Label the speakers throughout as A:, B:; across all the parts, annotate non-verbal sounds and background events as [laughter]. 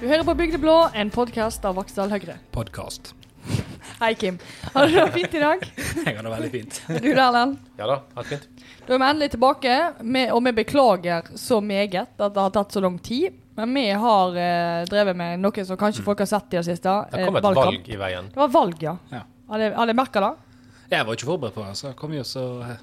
A: Du hører på Bygdeblå, en podkast av Vaksdal Høyre.
B: Podkast.
A: Hei, Kim. Har du det fint i dag?
B: [laughs] Jeg har det veldig fint.
A: Du, Erlend.
C: Ja da, helt fint.
A: Da er vi endelig tilbake, med, og vi beklager så meget at det har tatt så lang tid. Men vi har eh, drevet med noe som kanskje folk har sett i det siste.
C: Det
A: eh,
C: kom et
A: valgkamp.
C: valg i veien.
A: Det var valg, ja.
B: Ja.
A: Har dere- Har dere merka det?
B: Jeg var ikke forberedt på det, så jeg kom jo så eh,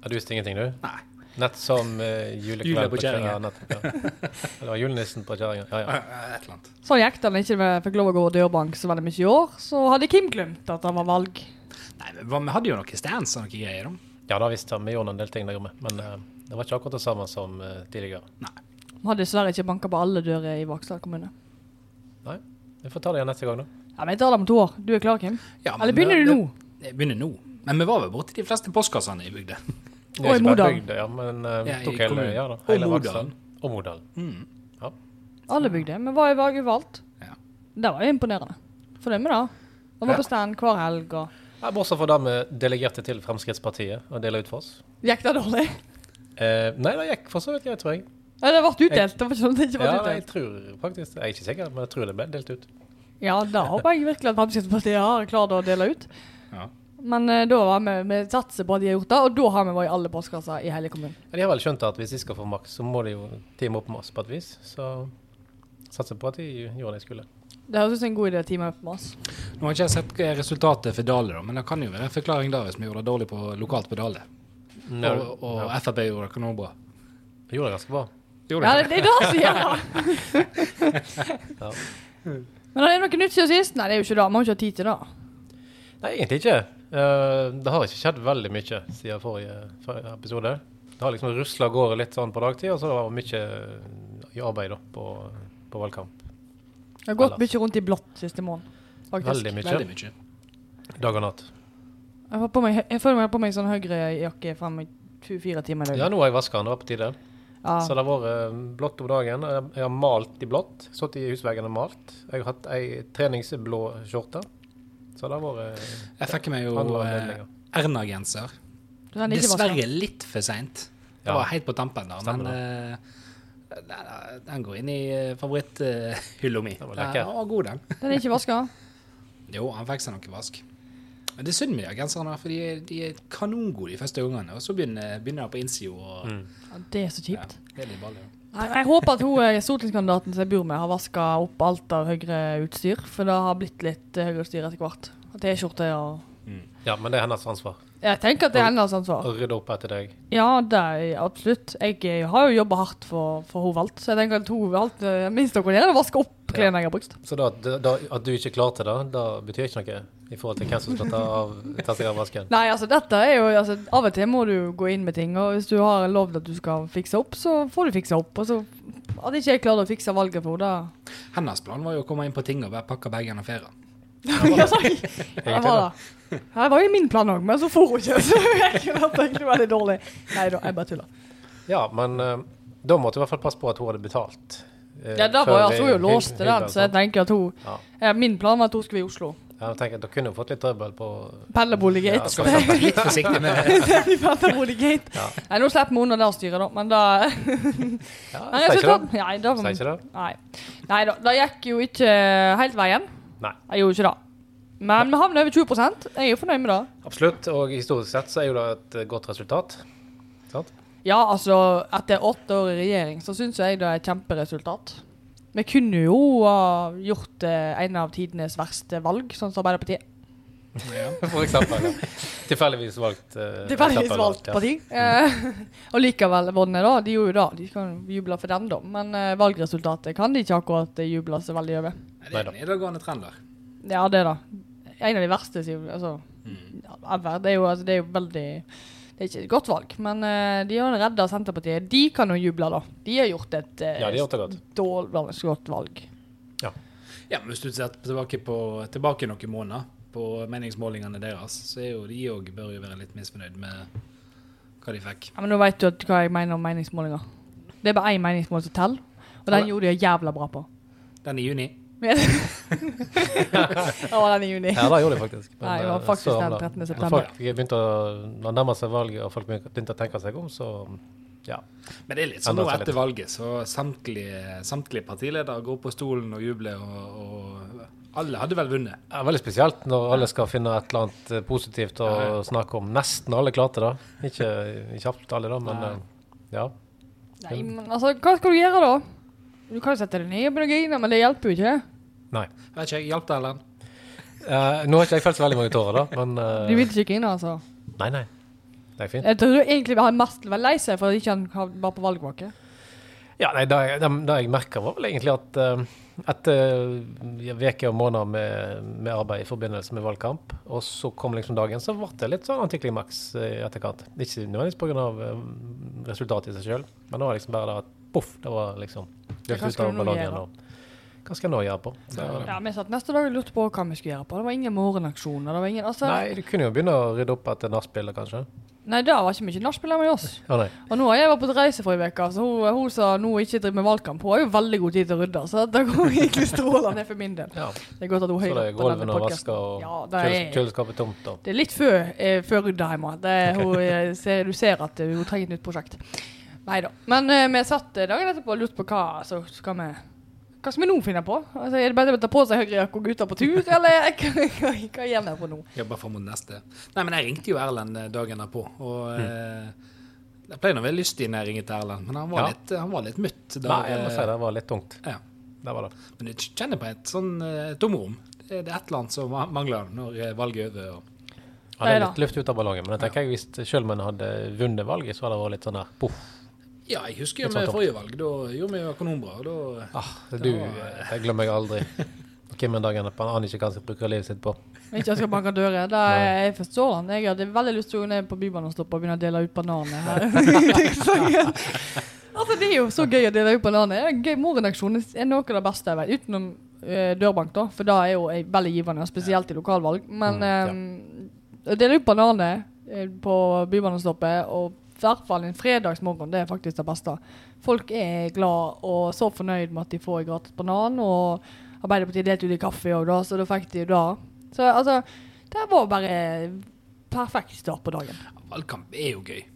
C: Ja, du visste ingenting, du?
B: Nei.
C: Nett som uh,
B: Jula
C: julekvelden
B: på
C: på
B: kjerringa.
C: kjerringa. nettopp, Ja. Eller julenissen på kjerringa. Ja, ja.
B: eh, Et eller annet.
A: Sånn gikk det da vi ikke fikk lov å gå dørbank så veldig mye i år. Så hadde Kim glemt at det var valg.
B: Nei, men hva- vi hadde jo noe stands og noe greier. da.
C: ja da visste vi gjorde en del ting der hjemme, men eh, det var ikke akkurat det samme som eh, tidligere.
A: Vi har dessverre ikke banka på alle dører i Vaksdal kommune.
C: Nei, vi får ta det igjen neste gang, da.
A: Ja, men Jeg tar det om to år. Du er klar, Kim?
B: Ja, men
A: Eller begynner
B: det-
A: du nå?
B: det- Jeg begynner nå. Men vi var vel borti de fleste postkassene i bygda.
A: Og
C: Vi er
A: i
C: ikke bare
A: Modalen.
C: bygd, Ja, men eh,
B: Ja, i
C: tok hele,
B: kommunen.
C: ja, da,
B: Og
C: hele
B: Modalen.
C: Vaksdal. Og Modalen.
A: Alle bygde. Vi var i valg valgt.
B: Ja.
A: Det var jo imponerende. Fornøyd med det. De var
B: Ja.
A: på stand hver helg og
C: Ja, bortsett fra det vi delegerte til Fremskrittspartiet og delte ut for oss.
A: Gikk det dårlig?
C: Eh, nei, det gikk for så vidt greit, tror jeg.
A: Ja, det ble utdelt. Det var ikke sånn at det ikke ble
C: Ja, nei, jeg
A: utdelt.
C: tror faktisk Jeg er ikke sikker, men jeg tror det ble delt ut.
A: Ja, da håper jeg virkelig at Fremskrittspartiet har klart å dele ut.
B: Ja.
A: Men eh, da var vi, vi satser på at de har gjort det, og da har vi vært i alle postkasser i hele kommunen.
C: Men de har vel skjønt at hvis de skal få makt, så må de jo teame opp med oss på et vis. Så satser på at de gjorde det de skulle.
A: Det høres ut som en god idé å teame opp med oss.
B: Nå har ikke jeg sett eh, resultatet for Dale, da, men det kan jo være en forklaring der hvis vi gjorde det dårlig på, lokalt på Dale. Og, og
C: Ja,
B: Frp gjorde det kanonbra.
C: de gjorde det ganske bra.
B: Gjorde
A: Ja,
B: det?
A: det, det er det som gjør det.
C: [laughs] Ja.
A: Men er det noe nytt siden sist? Nei, det er jo ikke det. Vi har ikke hatt tid til det.
C: Nei, egentlig ikke. Eh, det har ikke skjedd veldig mye siden forrige, forrige episode. Det har liksom rusla av gårde litt sånn på dagtid, og så var det mye eh, i arbeid da, på, på valgkamp.
A: Det har gått mye rundt i blått siste måned, faktisk.
C: Veldig mye.
B: Veldig mye.
C: Dag og natt.
A: Jeg, har på meg, jeg føler meg jeg har på meg sånn høyrejakke fram i 24 timer i
C: Ja,
A: døgnet.
C: nå har jeg vaska den, det var på tide.
A: Ja,
C: Så det har vært eh, blått om dagen. Jeg jeg har malt i blått. Sittet i husveggen og malt. Jeg har hatt ei treningsblå skjorte. Så det har vært
B: Jeg fikk meg jo
C: Handler om
B: eh,
C: anledninger.
B: Erna-genser.
A: så den er ikke vasket.
B: Dessverre litt for seint. Det
C: Ja.
B: var helt på tampen der, men
C: Stemmer
B: eh, den, den går inn i eh, favoritthylla mi.
C: Den
B: Ja,
C: var lekker.
B: Den var god, den.
A: Den er ikke vaska.
B: Jo, han fikk seg noe vask. Men det er synd med de genserne, for de, er- de er kanongode de første gangene. Og så begynner, begynner det på innsida. og-
C: Mm.
A: Ja, det er så
B: Ja,
A: kjipt.
B: det er litt balle, ja.
A: Nei, Jeg håper at hun eh, stortingskandidaten som jeg bor med, har vaska opp alt av Høyre-utstyr. For det har blitt litt eh, Høyre-utstyr etter hvert. At det er skjorte og
C: Ja, men det er hennes ansvar
A: Jeg tenker at det er hennes ansvar.
C: å rydde opp etter deg.
A: Ja, det er absolutt. Jeg eh, har jo jobba hardt for, for hun valgt, så jeg tenker at hun valgt eh, minst dere gjør, er å vaske opp klærne jeg har brukt.
C: Så da, da, at du ikke klarte det, det betyr ikke noe i forhold til hvem som skal ta, av, ta seg av vasken.
A: Nei, altså dette er jo altså, Av og til må du gå inn med ting, og hvis du har lovd at du skal fikse opp, så får du fikse opp. Og så At ikke jeg klarte å fikse valget for
C: [laughs]
A: henne,
B: Hennes plan var jo å komme inn på tinget og bare pakke bagen og feire.
A: da [laughs] [laughs] Ja, sorry. Det var det. Ja, Det var jo min plan òg, men så for hun ikke. [laughs] Så jeg kunne tenkt det var litt dårlig. Nei da, jeg bare tuller.
C: Ja, men eh, da måtte du i hvert fall passe på at hun hadde betalt. eh,
A: Ja, da
C: før
A: var jeg,
C: vi
A: altså, hun jo
C: hyl-
A: låste
C: hylla,
A: den, så jeg
C: sant?
A: tenker at hun
C: Ja.
A: ja, Min plan var at hun skulle i Oslo.
C: Ja, jeg tenker, da kunne hun fått litt trøbbel på
A: Pellebolig er
C: Ja,
A: et
C: skal
B: Skal vi
A: [laughs]
B: være litt forsiktige med
A: Vi prater om Odegate.
C: Ja.
A: Nei, nå slipper vi unna det styret, da. Men da
C: ja,
A: Nei,
C: Sier ikke det?
A: resultat- Nei, da
C: Sier ikke det?
A: Nei. Nei da. Det gikk jo ikke helt veien.
C: Nei.
A: Jeg gjorde ikke det. Men vi havner over 20 Jeg er jo fornøyd med det.
C: Absolutt. Og historisk sett så er jo det et eh, godt resultat. [laughs] Sant?
A: Ja, altså, etter åtte år i regjering, så syns jeg det er et kjemperesultat. Vi kunne jo ha gjort eh, en av tidenes verste valg, sånn som Arbeiderpartiet.
C: Eh, For eksempel. [laughs] Ja. Tilfeldigvis valgt eh,
A: Tilfeldigvis
C: eksempel,
A: valgt
C: ja.
A: parti. [laughs] Eh, og likevel vunnet, da. De gjorde jo det. De kan juble for den, da. Men eh, valgresultatet kan de ikke akkurat eh, juble så veldig over.
B: Det er en nedadgående trend der.
A: Ja, det da. En av de verste, sier altså, ja,
C: Mm.
A: ever. Det er, jo, altså, det er jo veldig Det er ikke et godt valg, men eh, de har redda Senterpartiet. De kan jo juble, da. De har gjort et eh,
C: Ja, de har gjort det godt.
A: dårlig godt valg.
B: Ja, men Hvis du ser tilbake, på, tilbake noen måneder på meningsmålingene deres, så er jo de òg bør jo være litt misfornøyd med hva de fikk.
A: Ja, men nå veit du at, hva jeg mener om meningsmålinger. Det er bare én meningsmåling som teller, og den
B: Ja.
A: gjorde de jævla bra
C: [laughs]
A: på.
B: Den i juni.
A: Men- Å, den i juni.
C: [laughs] Ja, det gjorde de faktisk.
A: Nei, det var
C: eh,
A: faktisk
C: så
A: den
C: da-
A: 13.
C: når
A: september.
C: Folk begynte å når det nærmer seg valget, og folk begynte å tenke seg om, så Ja.
B: Men det er litt sånn nå
C: Endret seg
B: etter
C: litt.
B: valget, så samtlige, samtlige partiledere går på stolen og jubler, og, og alle hadde vel vunnet.
C: Det er veldig spesielt når alle skal finne et eller annet eh, positivt å
B: Ja.
C: snakke om. Nesten alle klarte det. Ikke, ikke absolutt alle, da, men
B: Nei.
C: eh, ja.
A: Nei, men altså, hva skal du gjøre da? Du kan jo sette deg ned med noen, men det hjelper jo ikke.
C: Nei.
B: Vet ikke, jeg hjalp deg, Erlend.
C: Eh, nå har ikke jeg felt så veldig mange tårer, da, men eh,
A: Du vil ikke inn, altså.
C: Nei, nei. Det er fint.
A: Jeg tror egentlig han mest var lei seg for at ikke han ikke var på valgvake.
C: Ja, nei, det, jeg- det, det jeg merka, var vel egentlig at eh, etter uker og måneder med, med arbeid i forbindelse med valgkamp, og så kom liksom dagen, så ble det litt sånn antiklimaks eh, i etterkant. Ikke nødvendigvis pga. Uh, resultatet i seg sjøl, men det var liksom bare det at poff, det var liksom
A: hva
C: løftet ut
A: skal
C: av
A: du nå
C: ballongen.
A: gjøre?
C: Og, hva skal jeg nå gjøre på? Så-
A: Ja, Vi satt neste dag og lurte på hva vi skulle gjøre på. Det var ingen morgenaksjoner. Det var ingen, altså, nei.
C: Nei, du kunne jo begynne å rydde opp etter nachspielet, kanskje.
A: da var ikke mye nachspiel med oss.
C: Å nei.
A: Og nå har jeg vært på reise forrige uke, så hun, hun sa nå ikke driver med valgkamp. Hun har jo veldig god tid til å rydde, så det går egentlig strålende for min del.
C: Ja.
A: Det er godt at hun
C: Så
A: hører
C: det er
A: på denne
C: gulvene og
A: podcasten.
C: vasker og
A: ja, det
C: køles
A: er,
C: kjøleskapet tomt og
A: Det er litt før, eh, før rydda hjemme. Det er, [laughs] hun, eh, ser, du ser at eh, hun trenger et nytt prosjekt. Nei da. Men eh, vi satt eh, dagen etterpå og lurte på hva altså, skal vi hva skal vi nå finne på? Altså, er det bare å ta på seg høyrejakke og gå ut på tur, [laughs] eller hva, hva, hva gjør vi på nå?
B: Jobber fram mot neste. Nei, men jeg ringte jo Erlend eh, dagen derpå, og
C: Mm.
B: eh, jeg pleier nå å være lystig når jeg ringer til Erlend, men han var,
C: Ja.
B: litt, han var litt mutt. da,
C: Nei, jeg må
B: eh,
C: si det var litt tungt.
B: Ja.
C: Det var det.
B: Men jeg kjenner på et sånn eh, tomrom. Det det er et eller annet som ma- mangler når eh, valget er over. Og,
C: Ja, det er
A: Neida.
C: litt luft ut av ballongen, men jeg tenker jeg hvis selv om en hadde vunnet valget, så hadde det vært litt sånn der poff.
B: ja, jeg husker jo
C: Litt
B: med
C: sånn tomt.
B: forrige valg. Da gjorde vi jo økonombra. og Da
C: Ah, du, jeg glemmer jeg aldri. Hvem en dag han aner ikke hva han skal bruke livet sitt på.
A: Ikke at jeg banker dører. Det er, jeg forstår han. Jeg hadde veldig lyst til å gå ned på Bybanen og stoppe og begynne å dele ut bananer her. [laughs] altså, det er jo så gøy å dele ut bananer. Det er Gøy, Morgenaksjonen er noe av det beste jeg vet. Utenom eh, dørbank, da, for det er jo eh, veldig givende, spesielt i lokalvalg. Men eh, å dele ut bananer eh, på Bybanestoppet, og i hvert fall en fredagsmorgen, det er faktisk det beste. Folk er glad og så fornøyd med at de får en gratis banan. og Arbeiderpartiet delte ut i kaffe òg, da, så da fikk de jo det. Så altså, det var bare perfekt start på dagen.
B: Valgkamp er jo gøy.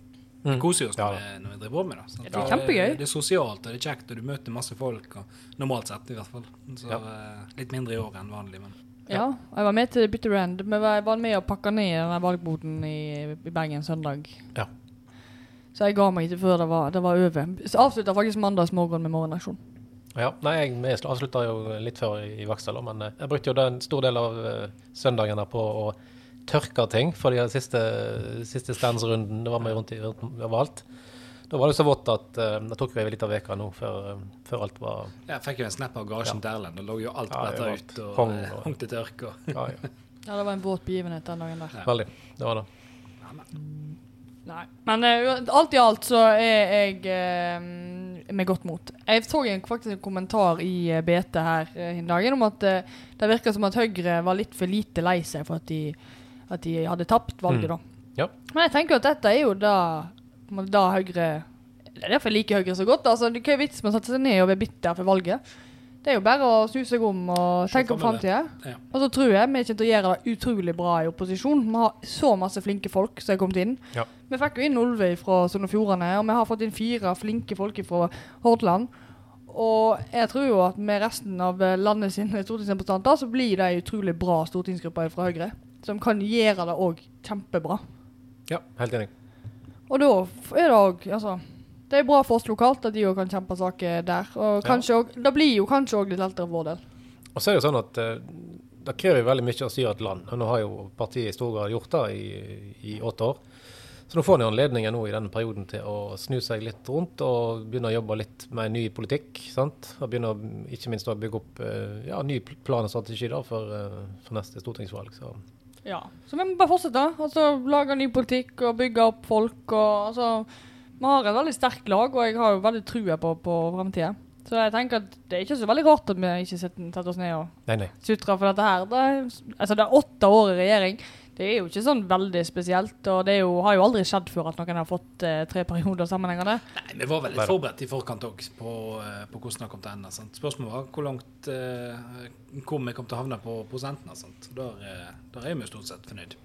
B: Vi koser oss
C: Mm. Ja,
B: når, vi- når vi driver på med det. sant?
A: det er kjempegøy.
B: Det er sosialt, og det er kjekt, og du møter masse folk. Og, normalt sett, i hvert fall. Så, eh, litt mindre i år enn vanlig, men
A: Ja, og jeg var med til Bitter End. Vi var, var med og pakka ned den der valgboden i, i Bergen søndag.
C: Ja.
A: Så jeg ga meg ikke før det var, det var over. Så avslutta faktisk mandagsmorgen med morgenaksjon.
C: Ja, nei, jeg, jeg avslutta jo litt før i Vaksdal, men eh, jeg brukte jo den stor del av eh, søndagen der på å tørke ting for de her siste, siste standsrunden. Det var meg rundt, i- rundt overalt. Da var det så vått at eh, det tok jo litt av veka nå før, eh, før alt var
B: jeg fikk jo en snap av garasjen til Erlend. og lå jo alt
C: Ja,
B: bretta
C: det
B: ut.
C: var
B: Og
C: kong,
B: eh,
C: og-
B: hung til tørk. Og,
C: ja, ja.
A: Ja, det var en våt begivenhet den dagen der.
C: Veldig. Det var det.
A: Nei. Men eh, u- alt i alt så er jeg eh, med godt mot. Jeg så en, faktisk en kommentar i eh, BT her eh, en dagen om at eh, det virka som at Høyre var litt for lite lei seg for at de, at de hadde tapt valget, da.
C: Ja.
A: Men jeg tenker jo at dette er jo da, på en måte da Høyre Det er derfor jeg liker Høyre så godt. Altså, det er Hva er vitsen med å sette seg ned og være bitter for valget? Det er jo bare å snu seg om og
B: Se
A: tenke om
B: fremover.
A: framtida.
B: ja.
A: Og så tror jeg vi kommer til å gjøre det utrolig bra i opposisjon. Vi har så masse flinke folk som er kommet inn.
C: Ja.
A: Vi fikk jo inn Olve fra Sogn og Fjordane, og vi har fått inn fire flinke folk fra Hordaland. Og jeg tror jo at med resten av landet sine stortingsrepresentanter, så blir det ei utrolig bra stortingsgruppe fra Høyre. Som kan gjøre det òg kjempebra.
C: ja, helt enig.
A: Og da f- er det òg Altså. Det er bra for oss lokalt at de òg kan kjempe saker der. Og
C: Ja.
A: kanskje òg Det blir jo kanskje òg litt lettere for vår del.
C: Og så er det jo sånn at eh, det krever jo veldig mye å styre et land. Og nå har jo partiet i stor grad gjort det i, i åtte år. Så nå får de anledningen nå i denne perioden til å snu seg litt rundt og begynne å jobbe litt med ny politikk. sant? Og begynne å, ikke minst å bygge opp eh, ja, ny pl- plan og strategi da for, eh, for neste stortingsvalg. Så.
A: Ja. Så vi må bare fortsette. Altså, lage ny politikk og bygge opp folk. Og, altså, vi har et veldig sterkt lag, og jeg har jo veldig trua på, på framtida. Så jeg tenker at det er ikke så veldig rart at vi ikke setter setter oss ned og
C: Nei, nei.
A: sutrer for dette her. Det er, altså, det er åtte år i regjering. Det er jo ikke sånn veldig spesielt, og det er jo, har jo aldri skjedd før at noen har fått eh, tre perioder sammenhengende.
B: Nei, vi var vel litt
C: Bare-
B: forberedt i forkant òg på, eh, på hvordan det kom til å ende. Sant? Spørsmålet var hvor langt eh, hvor vi kom til å havne på prosentene. Sant? Der, eh, der er vi stort sett fornøyd.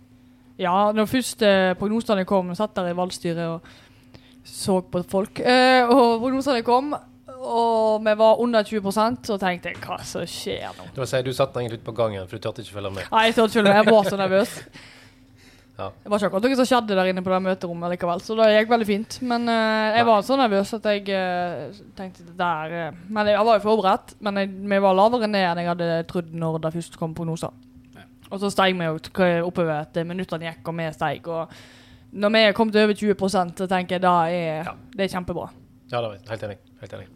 A: Ja, når først eh, prognosene kom, satt der i valgstyret og så på folk. Eh, og prognosene kom, og vi var under 20 så tenkte jeg hva som skjer nå?
C: Det vil si, du satt den egentlig ut på gangen, for du turte ikke følge med.
A: Nei, jeg, tør ikke, jeg var så nervøs.
C: Ja.
A: Det var ikke akkurat noe som skjedde der inne på det møterommet likevel, så det gikk veldig fint. Men eh, jeg var så nervøs at jeg eh, tenkte det der eh, Men jeg var jo forberedt, men jeg, vi var lavere ned enn jeg hadde trodd når det først kom prognoser.
B: Ja.
A: Og så steg vi jo t- oppover etter minuttene gikk, og vi steg. Og når vi er kommet over 20 så tenker jeg da er
C: Ja.
A: det er kjempebra.
C: Ja, da, helt enig. Helt enig.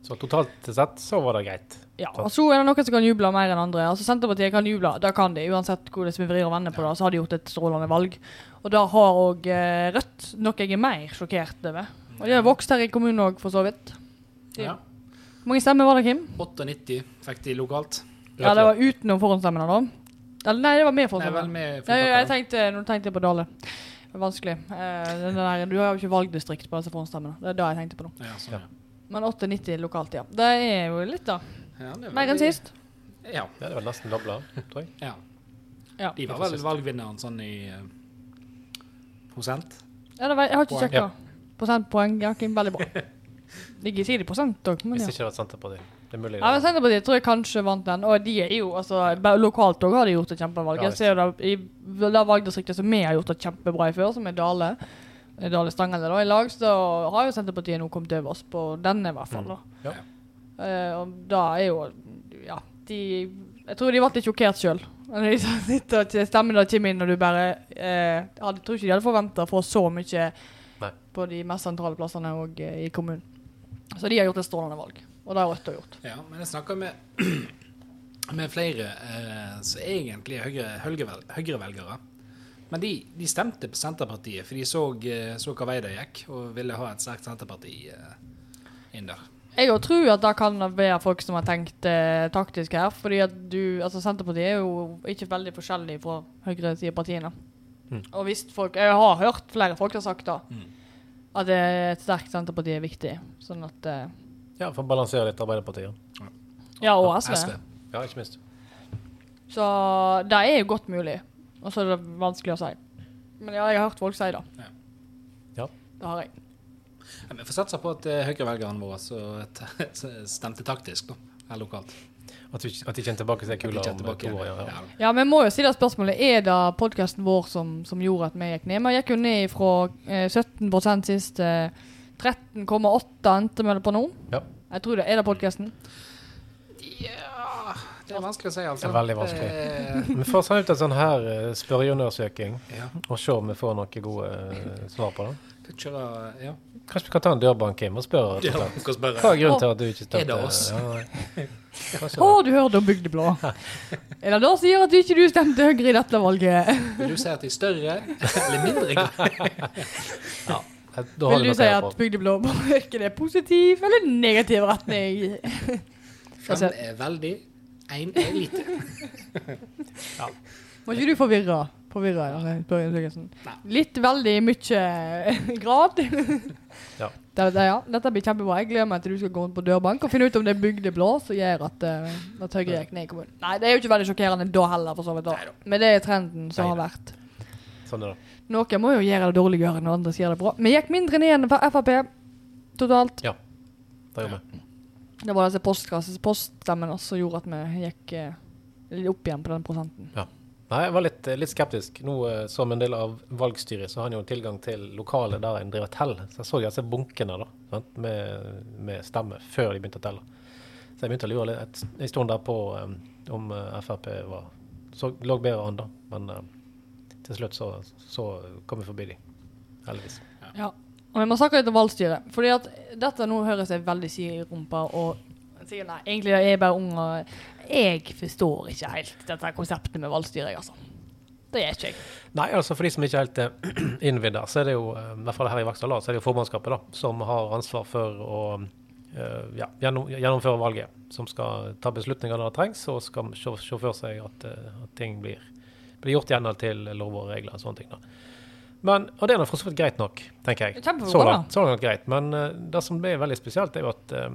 C: Så totalt sett så var det greit.
A: Ja, og så er det noen som kan juble mer enn andre. Altså Senterpartiet kan juble, det kan de. Uansett hvordan vi vrir og vender på det, så har de gjort et strålende valg. Og da har òg eh, Rødt noe jeg er mer sjokkert over. Og de har vokst her i kommunen òg, for så vidt. Det-
B: Ja.
A: Hvor mange stemmer var det, Kim?
B: 98 fikk de lokalt.
A: Ja, det var utenom forhåndsstemmene, da. Eller, nei, det var med
B: Nei, vel
A: forhåndsstemmene.
B: med
A: Nei, jeg
B: fullpakke,
A: tenkte, nå tenkte jeg på Dale. Det er vanskelig. Eh, den der, du har jo ikke valgdistrikt på disse forhåndsstemmene. Det er det jeg tenkte på nå.
B: da. Ja, sånn,
A: Men 8,90 lokalt, ja. Det er jo litt, da.
B: ja. Ja, det er
A: Mer enn
B: veldig-
A: sist.
B: Ja.
C: Ja, det var nesten dobla, tror jeg.
B: ja.
A: Ja.
B: De var vel valgvinneren sånn i eh, prosent.
A: Ja, det var, jeg har ikke
B: Poeng.
A: sjekka. Prosentpoeng. Ja, Kim, veldig bra. Ligger i tidlig prosent òg, men
C: Hvis
A: ja.
C: ikke det var Senterpartiet. Det er mulig.
A: Ja, men Senterpartiet tror jeg kanskje vant den, og de er jo altså, bare Lokalt òg har de gjort et kjempevalg.
C: Ja,
A: Jeg ser jo det i det valgdistriktet som vi har gjort det kjempebra i før, som er Dale. Dale Stanghelle, da. I lag så har jo Senterpartiet nå kommet over oss på denne, i hvert fall. da.
C: Mm. Ja.
A: Eh, og da er jo Ja, de Jeg tror de ble litt sjokkert sjøl. [laughs] Stemmen da kommer inn, og du bare eh, ja, Jeg tror ikke de hadde forventa å få så mye
C: Nei.
A: på de mest sentrale plassene og eh, i kommunen. Så de har gjort et strålende valg. Og det har Rødt også gjort.
B: Ja, men jeg snakker med, [clears throat] med flere eh, som egentlig er høyre, høyrevel, høyrevelgere. Men de, de stemte på Senterpartiet, for de så, eh, så hva vei det gikk, og ville ha et sterkt Senterparti eh, inn der.
A: Jeg òg tror at det kan være folk som har tenkt eh, taktisk her. fordi at du, altså Senterpartiet er jo ikke veldig forskjellig fra høyresidepartiene.
C: Mm.
A: Og hvis folk, Jeg har hørt flere folk har sagt da, at eh, et sterkt Senterparti er viktig. sånn at, eh,
C: Ja, for å balansere litt Arbeiderpartiet.
A: altså, Ja, og SV.
C: Ja, ikke minst.
A: Så det er jo godt mulig. Og så er det vanskelig å si. Men ja, jeg har hørt folk si det.
C: Ja.
A: Det har jeg.
B: Ja, men Vi får satse på at eh, høyrevelgerne våre så t- så [laughs] stemte taktisk, da. Her lokalt.
C: At, vi, at de kommer tilbake til
B: At de
C: kula
B: kommer
C: om
B: tilbake
C: to
B: igjen.
C: år. Ja, ja.
B: Ja, da.
A: Ja, men må jo si det spørsmålet. Er det podkasten vår som, som gjorde at vi gikk ned? Vi gikk jo ned fra eh, 17 sist. Eh, 13,8 endte vi på nå.
C: Ja.
A: Jeg tror det. Er det podkasten?
B: Ja, Det er vanskelig å si, altså.
C: Det er veldig vanskelig.
B: Eh,
C: Vi får sende ut en sånn her eh, spørreundersøking
B: ja.
C: [laughs] og se om vi får noen gode eh, svar på det.
B: Kan kjøre Ja.
C: Kanskje vi kan ta en dørbank, Kim, og spørre. rett og slett.
B: Kan spørre.
C: Hva er grunnen til at du ikke stemte?
B: Er det oss?
C: Ja, nei.
B: [laughs]
C: Kanskje
A: Å, du hørte om
C: [laughs]
A: Bygdeblå. er det da som gjør at du ikke du stemte Høyre i dette valget?
B: Vil du si at de er større [laughs] eller mindre?
C: det. Da har
A: Vil
C: du
A: du
C: noe
A: si
C: her
A: at
C: på.
A: Bygdeblå påvirker det positiv eller negativ retning?
B: Fem er veldig, én er lite.
A: Var ikke du forvirra? Forvirra, ja. Børre Jørgensen. Litt veldig mye eh, grad.
C: Ja.
A: Det, det, ja. Dette blir kjempebra. Jeg gleder meg til du skal gå rundt på dørbank og finne ut om det er bygdeblå som gjør at, eh, at Høyre gikk ned i kommunen. Nei, det er jo ikke veldig sjokkerende da heller, for så vidt. da. Men det er trenden som har vært.
C: Sånn er det.
A: Noen må jo gjøre det dårligere når andre sier det bra. Vi gikk mindre ned enn Frp totalt.
C: Da gjør vi.
A: Det var disse postkasse- poststemmene som gjorde at vi gikk eh, litt opp igjen på den prosenten.
C: Nei, jeg var litt, eh, litt skeptisk. Nå eh, som en del av valgstyret, så har en jo tilgang til lokalet der en driver tell. Så jeg så disse bunkene da, sant? Med, med stemme før de begynte å telle. Så jeg begynte å lure litt et- en stund der på eh, om eh, Frp var, så, lå bedre an, da. Men eh, til slutt så, så kom vi forbi de. Heldigvis.
A: Ja, og vi må snakke litt om valgstyret. Fordi at dette nå høres jeg veldig si i rumpa og sier nei, egentlig er jeg bare ung og Jeg forstår ikke helt dette her konseptet med valgstyre, jeg, altså. Det gjør ikke jeg.
C: Nei, altså for de som ikke er helt eh, [clears throat] innvidd der, så er det jo, eh, i hvert fall her i Vaksdal, da, så er det jo formannskapet da, som har ansvar for å eh, ja, gjennom, gjennomføre valget. Som skal ta beslutninger når det trengs, og skal se, se for seg at, eh, at ting blir, blir gjort i henhold til lover og regler og sånne ting. da. Men, og det er nå for så vidt greit nok, tenker jeg.
A: Kjempebra,
C: Så langt, så langt greit. Men eh, det som blir veldig spesielt, er jo at eh,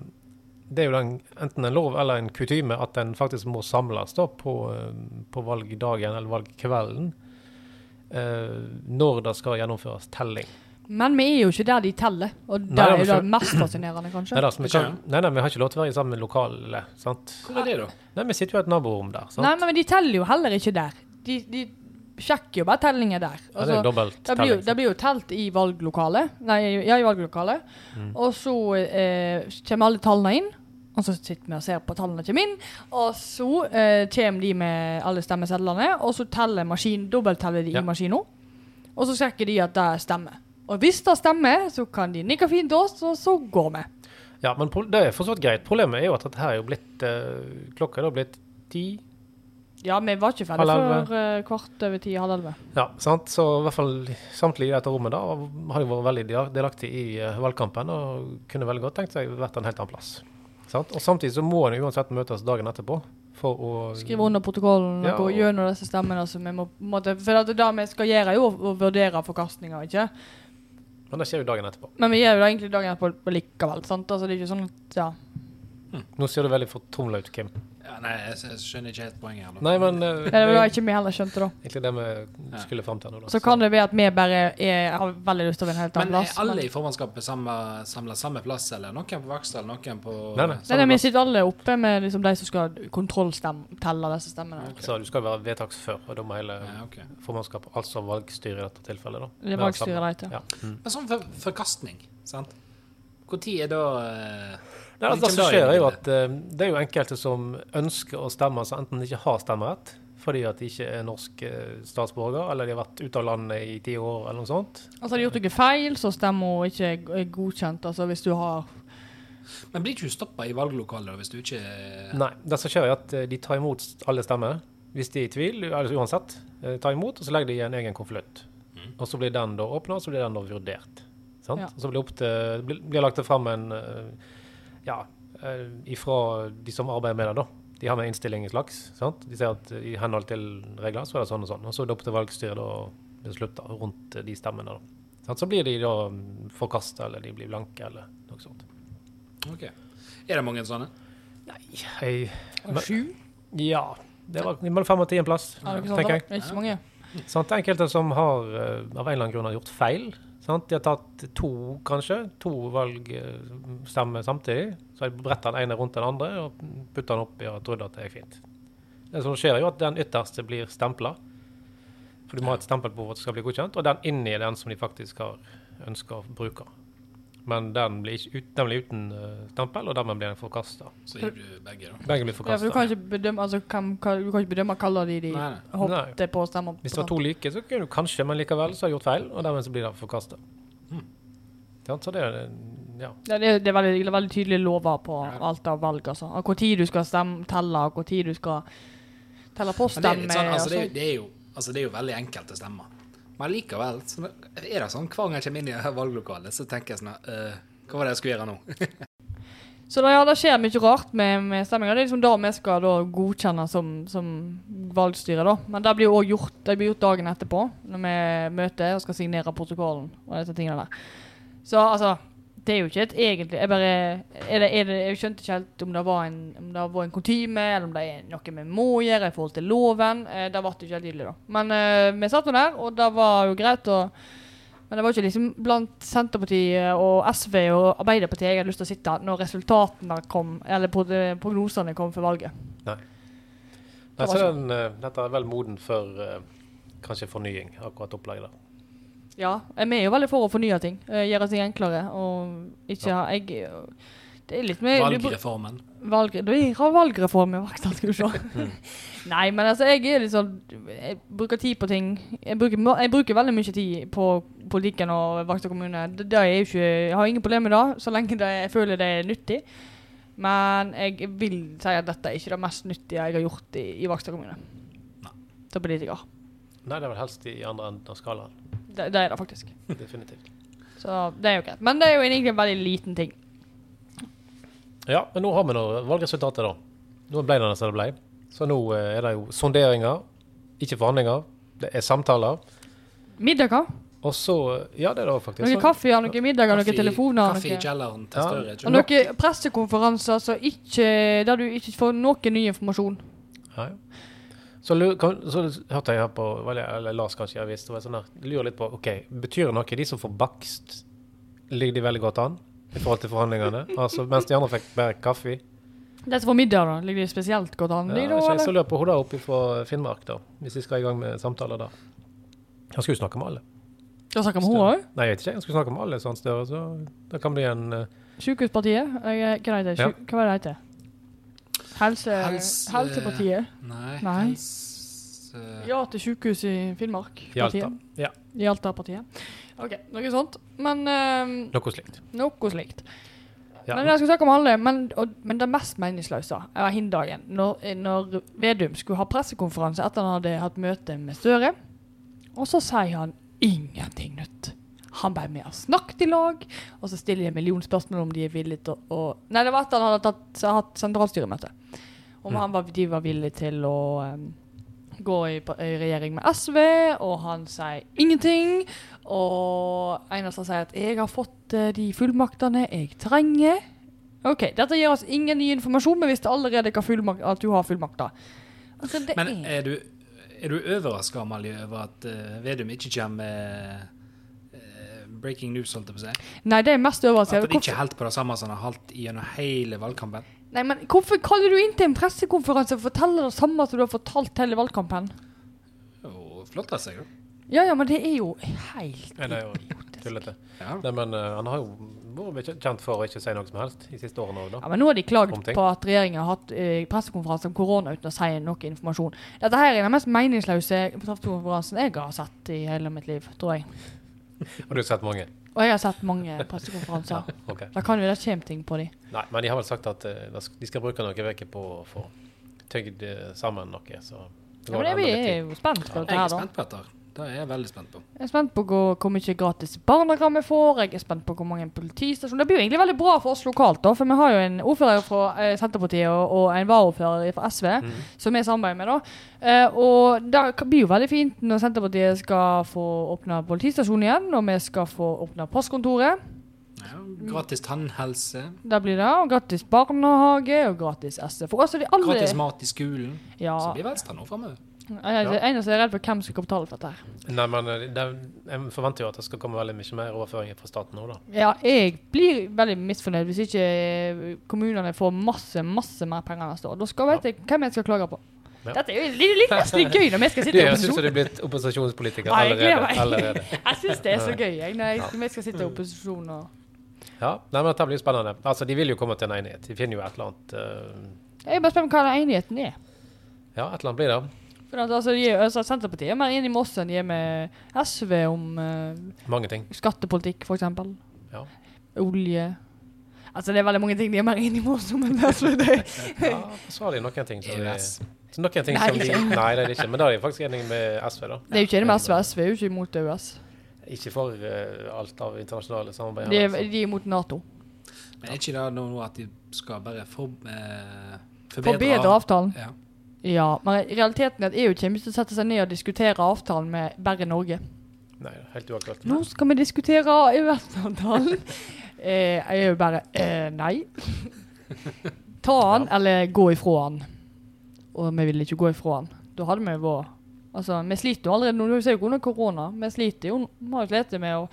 C: det er jo den, enten en lov eller en kutyme at en faktisk må samles da, på, eh, på valgdagen eller valgkvelden eh, når det skal gjennomføres telling.
A: Men vi er jo ikke der de teller, og det
C: Nei,
A: er
C: men
A: jo det
C: selv-
A: mest fascinerende,
C: Nei,
A: kanskje.
C: da, så vi kan, nei, nei, vi har ikke lov til å være i samme lokale. sant?
B: Hvor er det, da?
C: Nei, Vi sitter jo i et naborom der. sant?
A: Nei, men de teller jo heller ikke der. De, de sjekker jo bare tellinger der.
C: ja, det er jo
A: Altså,
C: dobbelt
A: det blir, jo,
C: telling.
A: det blir jo telt i valglokalet, nei, ja, i valglokalet.
C: Mm.
A: Og så eh, kommer alle tallene inn, og så sitter vi og ser på tallene kommer inn. Og så eh, kommer de med alle stemmesedlene, og så teller maskinen, dobbeltteller de
C: Ja.
A: i maskinen. Og så sjekker de at det stemmer. Og hvis det stemmer, så kan de nikke fint til oss, og så går vi.
C: Ja, men pro- det er for så vidt greit. Problemet er jo at dette her er jo blitt eh, Klokka er da blitt ti.
A: Ja, vi var ikke ferdig
C: Halv elleve.
A: før eh, kvart over ti, halv elleve.
C: Ja, sant? Så i hvert fall samtlige i dette rommet da har jo vært veldig dia- delaktig i eh, valgkampen og kunne veldig godt tenkt seg vært en helt annen plass. Sant? Og samtidig så må en jo uansett møtes dagen etterpå for å
A: Skrive under protokollen
C: Ja,
A: og gå
C: og-
A: gjennom disse stemmene. som vi må, på en måte, for at det da vi skal gjøre, er jo å, å vurdere forkastninger, ikke
C: Men det skjer jo dagen etterpå.
A: Men vi gjør jo det egentlig dagen etterpå likevel. sant? Altså, det er ikke sånn at, ja.
C: Nå ser du veldig fortumla ut, Kim.
B: Ja, nei, jeg s- jeg skjønner ikke helt poenget her. nå.
C: Nei, men eh,
A: Det var ikke vi heller skjønte, da.
C: egentlig det vi skulle fram til nå. Da.
A: Så kan det være at vi bare er, har veldig lyst til å være en helt
B: Men
A: annen
B: er
A: plass.
B: eh, alle i formannskapet samla samme plass, eller noen på Vaksdal, noen på
C: Nei, nei.
A: Nei, nei, Vi sitter alle oppe med liksom de som skal kontrollstemme, telle disse stemmene.
C: Så du skal jo være vedtaks før, og da må hele
B: Ja, ok.
C: formannskapet, altså valgstyret i dette tilfellet, da.
A: Det er
C: være
A: valgstyret
C: sammen.
A: de til.
C: Ja. Mm.
B: Men sånn for, forkastning, sant? Hvor tid er da eh,
C: Nei, altså, det som skjer er jo at eh, det er jo enkelte som ønsker å stemme, som enten ikke har stemmerett fordi at de ikke er norsk eh, statsborger, eller de har vært ute av landet i ti år, eller noe sånt.
A: Altså, Har de gjort noe feil, så stemmer hun ikke er- er godkjent. altså hvis du har...
B: Men blir ikke du stoppa i valglokalet da, hvis du ikke eh, er
C: Nei. Det som skjer er at eh, de tar imot alle stemmer, hvis de er i tvil, altså uansett. eh, tar imot, og så legger de i en egen konvolutt. Og så blir den da åpna, og så blir den da vurdert. Sant?
A: Ja.
C: Og så blir det opp til, blir, blir lagt fram en eh, Ja, eh, ifra de som arbeider med det, da. De har med innstilling i slags. sant? De sier at eh, i henhold til regler så er det sånn og sånn. Og så er det opp til valgstyret å beslutte rundt eh, de stemmene. da. Sant? Så blir de da forkasta, eller de blir blanke, eller noe sånt.
B: OK. Er det mange sånne?
C: Jeg, men-
A: Sju?
C: ja. Det var mellom fem og ti en plass,
A: Er det ikke sant?
C: tenker jeg.
A: da? Det er ikke så mange.
C: Sant? Det er Enkelte som har eh, av en eller annen grunn har gjort feil. Sant? De har tatt to, kanskje, to valgstemmer samtidig. Så har de bretta den ene rundt den andre og putta den oppi og trodd at det er fint. Det som skjer, er jo at den ytterste blir stempla. For du må ha et stempel på for at det skal bli godkjent. Og den inni er den som de faktisk har ønska å bruke. Men den blir, ikke, ut- den blir uten eh, stempel, og dermed blir den forkasta.
B: Så gir du begge, da.
C: Begge blir
A: Ja, for du kan
C: forkasta.
A: ikke bedømme altså, hvem, hva, du kan ikke bedømme hva de, de
B: Nei, nei.
A: hoppet på og stemmer
C: Hvis det var to like, så kunne du kanskje, men likevel så har jeg gjort feil, og dermed så blir det forkasta. Så det er Hmm. ja.
A: Ja, det, er- det, er veldig, det er veldig tydelige lover på
B: Ja.
A: alt av valg. Altså. Og Hvor tid du skal stemme, telle, og hvor tid du skal telle
B: Men det er
A: poststemme.
B: litt sånn, altså,
A: og
B: det, er
A: sånn.
B: jo- det, er jo, altså, det er jo veldig enkelte stemmer. Men likevel så er det sånn hver gang jeg kommer inn i [laughs] det her valglokalet, så tenker jeg sånn eh, Hva var det jeg skulle gjøre nå?
A: Så da, ja, det skjer mye rart med, med stemminga. Det er liksom da vi skal da, godkjenne som, som valgstyre. Da. Men det blir jo også gjort, det blir gjort dagen etterpå, når vi møter og skal signere protokollen. og disse tingene der. Så altså Det er jo ikke et egentlig Jeg bare er det, er det, Jeg skjønte ikke helt om det var en, om det var en kutyme, eller om det er noe vi må gjøre i forhold til loven. Eh, det ble det ikke helt tydelig, da. Men eh, vi satt nå der, og det var jo greit. å men det var ikke liksom blant Senterpartiet eh, og SV og Arbeiderpartiet jeg hadde lyst til å sitte når resultatene kom, eller prog- prognosene kom for valget.
C: Nei,
A: var
C: så den, eh, dette er vel moden for eh, kanskje fornying, akkurat opplegget der.
A: Ja, eh, vi er jo veldig for å fornye ting. eh, Gjøre ting enklere. Og ikke ha jeg, eh, Det er litt mer
B: Valgreformen.
A: Valg, du har valgreform i Vaksdal, skal du se.
B: [laughs]
A: Nei, men altså, jeg er litt sånn Jeg bruker tid på ting. Jeg bruker, ma- jeg bruker veldig mye tid på politikken og Vaksdal kommune. Det, det er jeg, ikke, jeg har ingen problemer med det, så lenge det, jeg føler det er nyttig. Men jeg vil si at dette er ikke det mest nyttige jeg har gjort i, i Vaksdal kommune. Som politiker.
C: Nei, det er vel helst i andre enden av skalaen.
A: Det, det er det faktisk.
C: Definitivt.
A: Så det er jo greit. Men det er jo egentlig en veldig liten ting.
C: [laughs] Ja, men nå har vi nå valgresultatet, da. Nå ble det som det ble. Så nå eh, er det jo sonderinger, ikke forhandlinger. Det er samtaler.
A: Middager.
C: Og så eh, Ja, det er det også faktisk.
A: Noe
C: Så-
A: kaffe, ja, noe middager,
B: sånn- Kaffe
A: noen
B: i-
A: telefoner.
B: Kaffe i
A: noe-
B: kjelleren til
C: Ja.
B: Støre.
A: Og
B: ikke sant?
A: noen pressekonferanser så ikke, der du ikke får noe ny informasjon.
C: Nei. Så, lu- kan, så hørte jeg her på, eller, eller Lars kanskje i avis, det var sånn der, lurer litt på, ok, betyr det noe de som får bakst, ligger de veldig godt an i forhold til forhandlingene? Altså, mens de andre fikk bare kaffe.
A: De som får middag, da, ligger de spesielt godt an?
C: Ja,
A: de da,
C: så jeg så
A: eller?
C: løper hodet opp fra Finnmark da, hvis de skal i gang med samtaler da. Han skulle jo snakke med alle.
A: Da snakker vi om henne
C: Støre.
A: òg?
C: Nei, jeg vet ikke, han skulle snakke med alle, sånn større, så det kan bli en... eh,
A: Sykehuspartiet? Eh, Hva heter det?
C: Ja.
A: Sjuk- Hva var det det heter? Helse,
B: Helse-
A: Helsepartiet?
B: Nei. eh,
A: Nei.
B: helse-
A: Ja til sykehus i Finnmark?
C: I Alta.
A: partiet.
C: Ja.
A: I Alta-partiet. OK, noe sånt. Men eh,
C: Noe slikt.
A: Noe slikt.
C: Ja.
A: Men jeg skal snakke om alle, men, og, men det mest meningsløse var hindagen. Når, eh, når Vedum skulle ha pressekonferanse etter han hadde hatt møte med Støre, og så sier han ingenting nytt. Han ble med og snakket i lag, og så stiller de en million spørsmål om de er villige til å å- Nei, det var etter han hadde tatt, hatt sentralstyremøte. Om han var, de var villige til å em, gå i, pa- i regjering med SV, og han sier ingenting. Og Einarsen sier at 'jeg har fått eh, de fullmaktene jeg trenger'. OK, dette gir oss ingen ny informasjon, men vi visste allerede hva fullmakt, at du har fullmakter. Altså, det
B: Men
A: er
B: eh, er du, er du overraska, Amalie, over at eh, Vedum ikke kommer med eh, breaking news, holdt jeg på å si?
A: Nei, det er mest
B: At
A: overraskende.
B: han ikke
A: Hvorfor,
B: holdt på det samme som han har holdt gjennom hele valgkampen?
A: nei, men hvorfor kaller du inn til en pressekonferanse og forteller det samme som du har fortalt hele valgkampen?
B: Og flotta seg, da.
A: Ja ja, men det er jo helt
C: Ja, det er jo tullete.
B: Ja.
C: Nei, men eh, han har jo vært kjent for å ikke si noe som helst de siste årene òg,
A: Ja,
C: da.
A: men Nå har de klagd
C: Om ting.
A: på at regjeringen har hatt eh, pressekonferanse om korona uten å si noe informasjon. Dette her er den mest meningsløse pressekonferansen jeg har sett i hele mitt liv, tror jeg.
C: Og du har sett mange?
A: Og jeg har sett mange pressekonferanser.
C: Ok.
A: Da kan jo det komme ting på de.
C: Nei, men de har vel sagt at eh, da sk- de skal bruke noen uker på å få tygd eh, sammen noe, så det
A: Ja,
C: går
A: men jeg
C: enda litt
A: er
C: tid.
A: jo spent på dette
B: Jeg er
A: her, da.
B: spent på dette. Det er jeg veldig spent på.
A: Jeg er spent på hvor, hvor mye gratis barnehager vi får. Jeg er spent på hvor mange politistasjoner Det blir jo egentlig veldig bra for oss lokalt, da. For vi har jo en ordfører fra eh, Senterpartiet og, og en varaordfører fra SV
C: Mm.
A: som vi samarbeider med, da. Eh, og det k- blir jo veldig fint når Senterpartiet skal få åpne politistasjonen igjen, og vi skal få åpne postkontoret.
B: Ja,
A: Mm.
B: gratis tannhelse.
A: Det blir det. Og gratis barnehage, og gratis SFO. Altså de alle
B: Gratis mat i skolen.
A: Ja.
B: Så blir Venstre nå framover.
A: Jeg er eneste jeg er redd for hvem som skal betale for dette her.
C: Nei, men eh, det, jeg forventer jo at det skal komme veldig mye mer overføringer fra staten nå, da.
A: Ja, jeg blir veldig misfornøyd hvis ikke eh, kommunene får masse, masse mer penger neste år. Da skal vet jeg hvem jeg skal klage på.
C: Ja.
A: Dette er jo litt, litt nesten gøy når vi skal
C: Du
A: sitte i
C: syns
A: opposisjon.
C: du er blitt opposisjonspolitiker
A: Nei, jeg gleder
C: allerede?
A: meg.
C: allerede.
A: [laughs] Jeg syns det er så gøy jeg, når, jeg, når vi skal sitte i opposisjon og
C: Ja, nei, men Dette blir jo spennende. Altså, De vil jo komme til en enighet. De finner jo et eller annet eh,
A: Jeg er bare spent på hva den enigheten er.
C: Ja, et eller annet blir det.
A: For at, altså, de, er- altså, Senterpartiet er mer enig med oss enn de er med SV om eh,
C: Mange ting.
A: skattepolitikk, f.eks.
C: Ja.
A: Olje. Altså, det er veldig mange ting de er mer enig med oss om enn SV. Det.
C: ja så har de noen ting som de,
B: EØS.
C: så noen ting
A: Nei.
C: som de Nei, det er det ikke. Men da er de faktisk enige med SV, da.
A: det er jo ikke det med SV. SV er jo ikke imot EØS.
C: Ikke for eh, alt av internasjonale samarbeid.
A: De,
C: her,
A: er-
C: altså.
A: de er imot Nato.
B: Men er ikke det nå at de skal bare for, eh, forbedre,
A: Forbedre avtalen.
B: Ja.
A: Ja, men realiteten er at EU kommer ikke til å sette seg ned og diskutere avtalen med bare Norge.
C: Nei, helt uaktuelt.
A: Nå skal vi diskutere EØS-avtalen. eh, EU bare eh, nei. Ta han, eller gå ifra han. Og vi vil ikke gå ifra han. Da hadde vi vært Altså, vi sliter jo allerede nå. Du ser jo ikke under korona. Vi sliter jo. Vi har jo slitt med å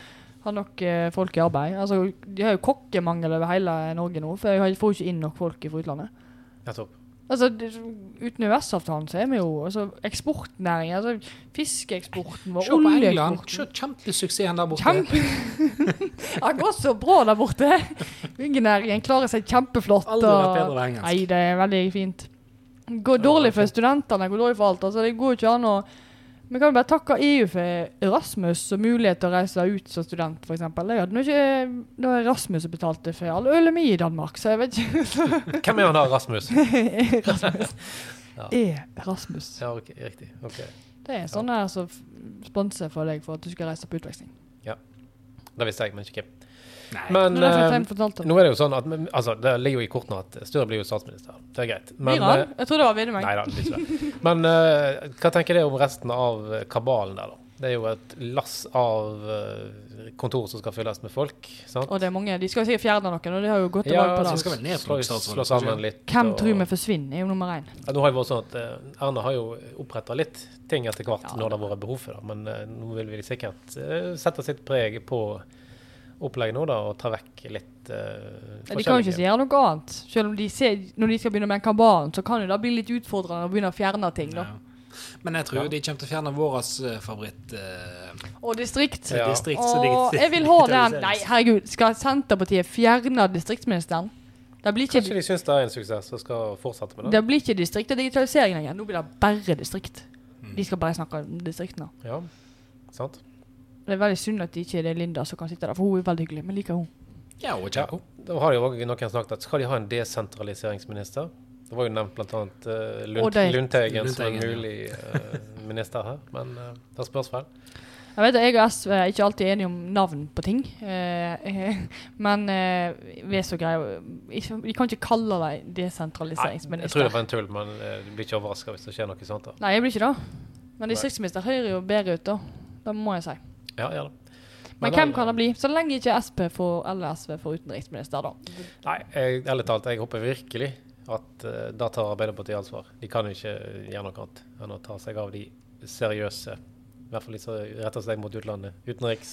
A: ha nok eh, folk i arbeid. Altså, de har jo kokkemangel over hele Norge nå, for jeg får jo ikke inn nok folk fra utlandet.
C: Nettopp.
A: Altså, det- Uten EØS-avtalen så er vi jo altså, eksportnæringen. Altså, fiskeeksporten vår,
B: Se på England. Se
A: oljeeksporten
B: kjempesuksessen der borte.
A: Kjempe... [laughs] Det går så bra der borte! Byggenæringen klarer seg kjempeflott.
B: Aldri vært
A: og-
B: bedre enn engelsk.
A: Nei, det er veldig fint. Går dårlig for studentene, går dårlig for alt. Altså, det går jo ikke an å Vi kan jo bare takke EU for Erasmus og mulighet til å reise ut som student, f.eks. Det hadde nå ikke det var Erasmus som betalte for all ølen min i Danmark, så jeg vet ikke
C: Hvem er han da, Rasmus?
A: Erasmus.
C: Ja.
A: Erasmus.
C: Ja, ok, riktig. Ok.
A: Det er sånne her som f- sponser for deg for at du skal reise på utveksling.
C: Det visste jeg, men ikke hvem.
B: Nei.
A: Men,
C: Men
A: det fikk
C: eh,
A: jeg fortalt om.
C: nå er det jo sånn at altså, det ligger jo i kortene at Støre blir jo statsminister. Det er greit. Men,
A: Blir han?
C: eh,
A: Jeg tror det var Videmeng.
C: Nei da, det blir ikke det. Men eh, hva tenker dere om resten av kabalen der, da? Det er jo et lass av eh, kontor som skal fylles med folk. sant? altså,
A: Og det er mange. De skal jo sikkert fjerne noen, og de har jo gått til valg på
B: så
A: det.
B: skal vel ned på
C: slå,
B: statsråden,
C: slå
B: kanskje.
C: sammen litt.
A: Hvem
C: og-
A: tror vi forsvinner, er jo nummer én.
C: Ja, nå har det vært sånn at eh, Erna har jo oppretta litt ting etter hvert
A: Ja.
C: når det har vært behov for det. Men eh, nå vil vi sikkert eh, sette sitt preg på opplegget nå da, og ta vekk litt uh,
A: De kan jo ikke gjøre noe annet. Selv om de ser, når de skal begynne med den kabalen, så kan jo det bli litt utfordrende å begynne å fjerne ting. da.
B: Ja. Men jeg tror de kommer til å fjerne vår favoritt eh,
A: Og distrikt.
C: Ja.
B: distrikt. så
A: Og
B: digit-
A: jeg vil ha den.
B: [laughs] digitaliseres.
A: Nei, herregud. Skal Senterpartiet fjerne distriktsministeren? Det blir
C: Kanskje
A: ikke,
C: de syns det er en suksess og skal fortsette med det.
A: det blir ikke distrikt og digitalisering lenger. Nå blir det bare distrikt. De skal bare snakke om distriktene.
C: Ja, sant?
A: Det er veldig synd at det ikke er Linda som kan sitte der, for hun er veldig hyggelig. Men liker hun.
B: Ja, og Kjerko.
C: Da har jo også noen snakket at skal de ha en desentraliseringsminister? Det var jo nevnt bl.a. Uh,
A: Og
C: Lund,
A: det-
C: Lundteigen som en
B: Lundteigen, ja.
C: mulig eh, minister her, men eh, det spørs vel.
A: Jeg vet at jeg og SV er ikke alltid enige om navn på ting. eh, men eh, vi er så greie. Ikke- Vi kan ikke kalle deg
C: Nei, jeg tror
A: desentraliseringsminister.
C: det var en tull, men eh, du blir ikke overraska hvis det skjer noe sånt. da.
A: Nei, jeg blir ikke det. Men distriktsminister høres jo bedre ut, da. Det må jeg si.
C: Ja, ja da.
A: Men
C: Men
A: hvem
C: da-
A: kan det bli? Så lenge ikke SP får, eller SV får utenriksminister, da.
C: Nei, jeg, ærlig talt, jeg håper virkelig at eh, da tar Arbeiderpartiet ansvar. De kan jo ikke gjøre noe annet enn å ta seg av de seriøse. I hvert fall de som retter seg mot utlandet. Utenriks,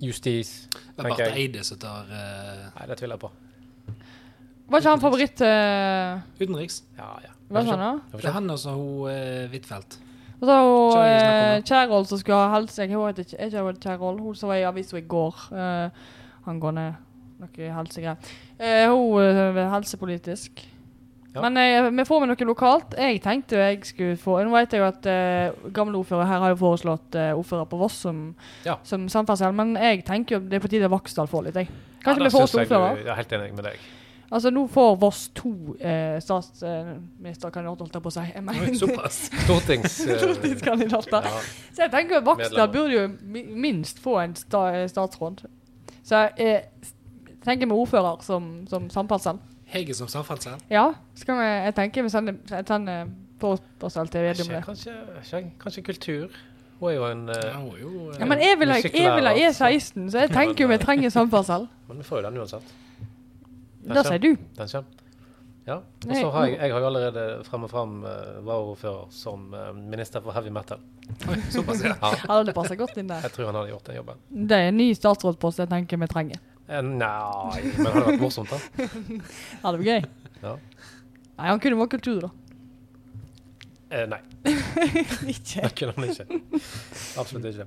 C: justis,
B: Det er Barth
C: tenker jeg.
B: Eide som tar eh,
C: Nei, det tviler jeg på.
A: Var ikke han favoritt eh,
B: utenriks.
C: Ja, ja.
A: Hva sa han da?
C: Hvorfor
B: Det er
C: ikke?
B: han og så hun eh, Huitfeldt.
A: Og så har hun
B: Kjør, vi snakker om
A: eh,
B: det.
A: Kjærhol som skulle ha helse. Hun heter ikke- er ikke hun Kjærhol, hun som var i avisa i går. eh, angående noe helsegreier. Eh, hun er helsepolitisk.
C: Ja.
A: Men eh, vi får med noe lokalt. Jeg tenkte jo jeg skulle få Nå vet jeg jo at eh, gamle ordfører her har jo foreslått eh, ordfører på Voss som,
C: Ja.
A: som samferdsel, men jeg tenker jo det er på tide Vaksdal får litt, jeg.
C: Ja,
A: Kanskje
C: da
A: vi får
C: synes
A: oss
C: jeg du-
A: ordfører?
C: Jeg er helt enig med
A: [laughs]
C: deg.
A: Altså, nå får Voss to eh, statsministerkandidater, holdt jeg på å si. Jeg
B: Oi,
A: mener [laughs]
B: Såpass.
C: Stortings... eh,
A: stortingskandidater.
C: ja.
A: Så jeg tenker at Vaksdal
C: Medlemmer.
A: burde jo mi- minst få en sta statsråd. Så jeg eh, tenker med ordfører som, som samferdsel.
B: Hege som samferdsel.
A: Ja, så kan vi, jeg tenker vi sender, jeg sender forespørsel til Vedum
C: Kanskje,
A: der.
C: kanskje- kanskje, kanskje kultur. Hun er jo en eh,
B: Ja, hun er jo, eh,
A: Ja, men jeg vil ha jeg vil ha
C: Musikklærer, altså.
A: E16, så jeg tenker jo vi
C: [laughs]
A: trenger samferdsel.
C: Men vi får jo den uansett.
A: Det sier du.
C: Den kommer. Ja. Og
A: Nei,
C: så har jeg, jeg har jo allerede frem og frem eh, varaordfører som eh, minister for heavy metal.
B: Oi, såpass, ja.
C: Ja,
A: Ja, det passer godt inn der.
C: jeg tror han hadde gjort den jobben.
A: Det er en ny statsrådpost jeg tenker vi trenger.
C: Eh, Nei, men det hadde vært morsomt, da.
A: Ja, det blir gøy.
C: Ja.
A: Nei, han kunne vært kultur, da.
C: Eh, nei,
A: [laughs] Ikke.
C: det kunne han ikke. Absolutt ikke.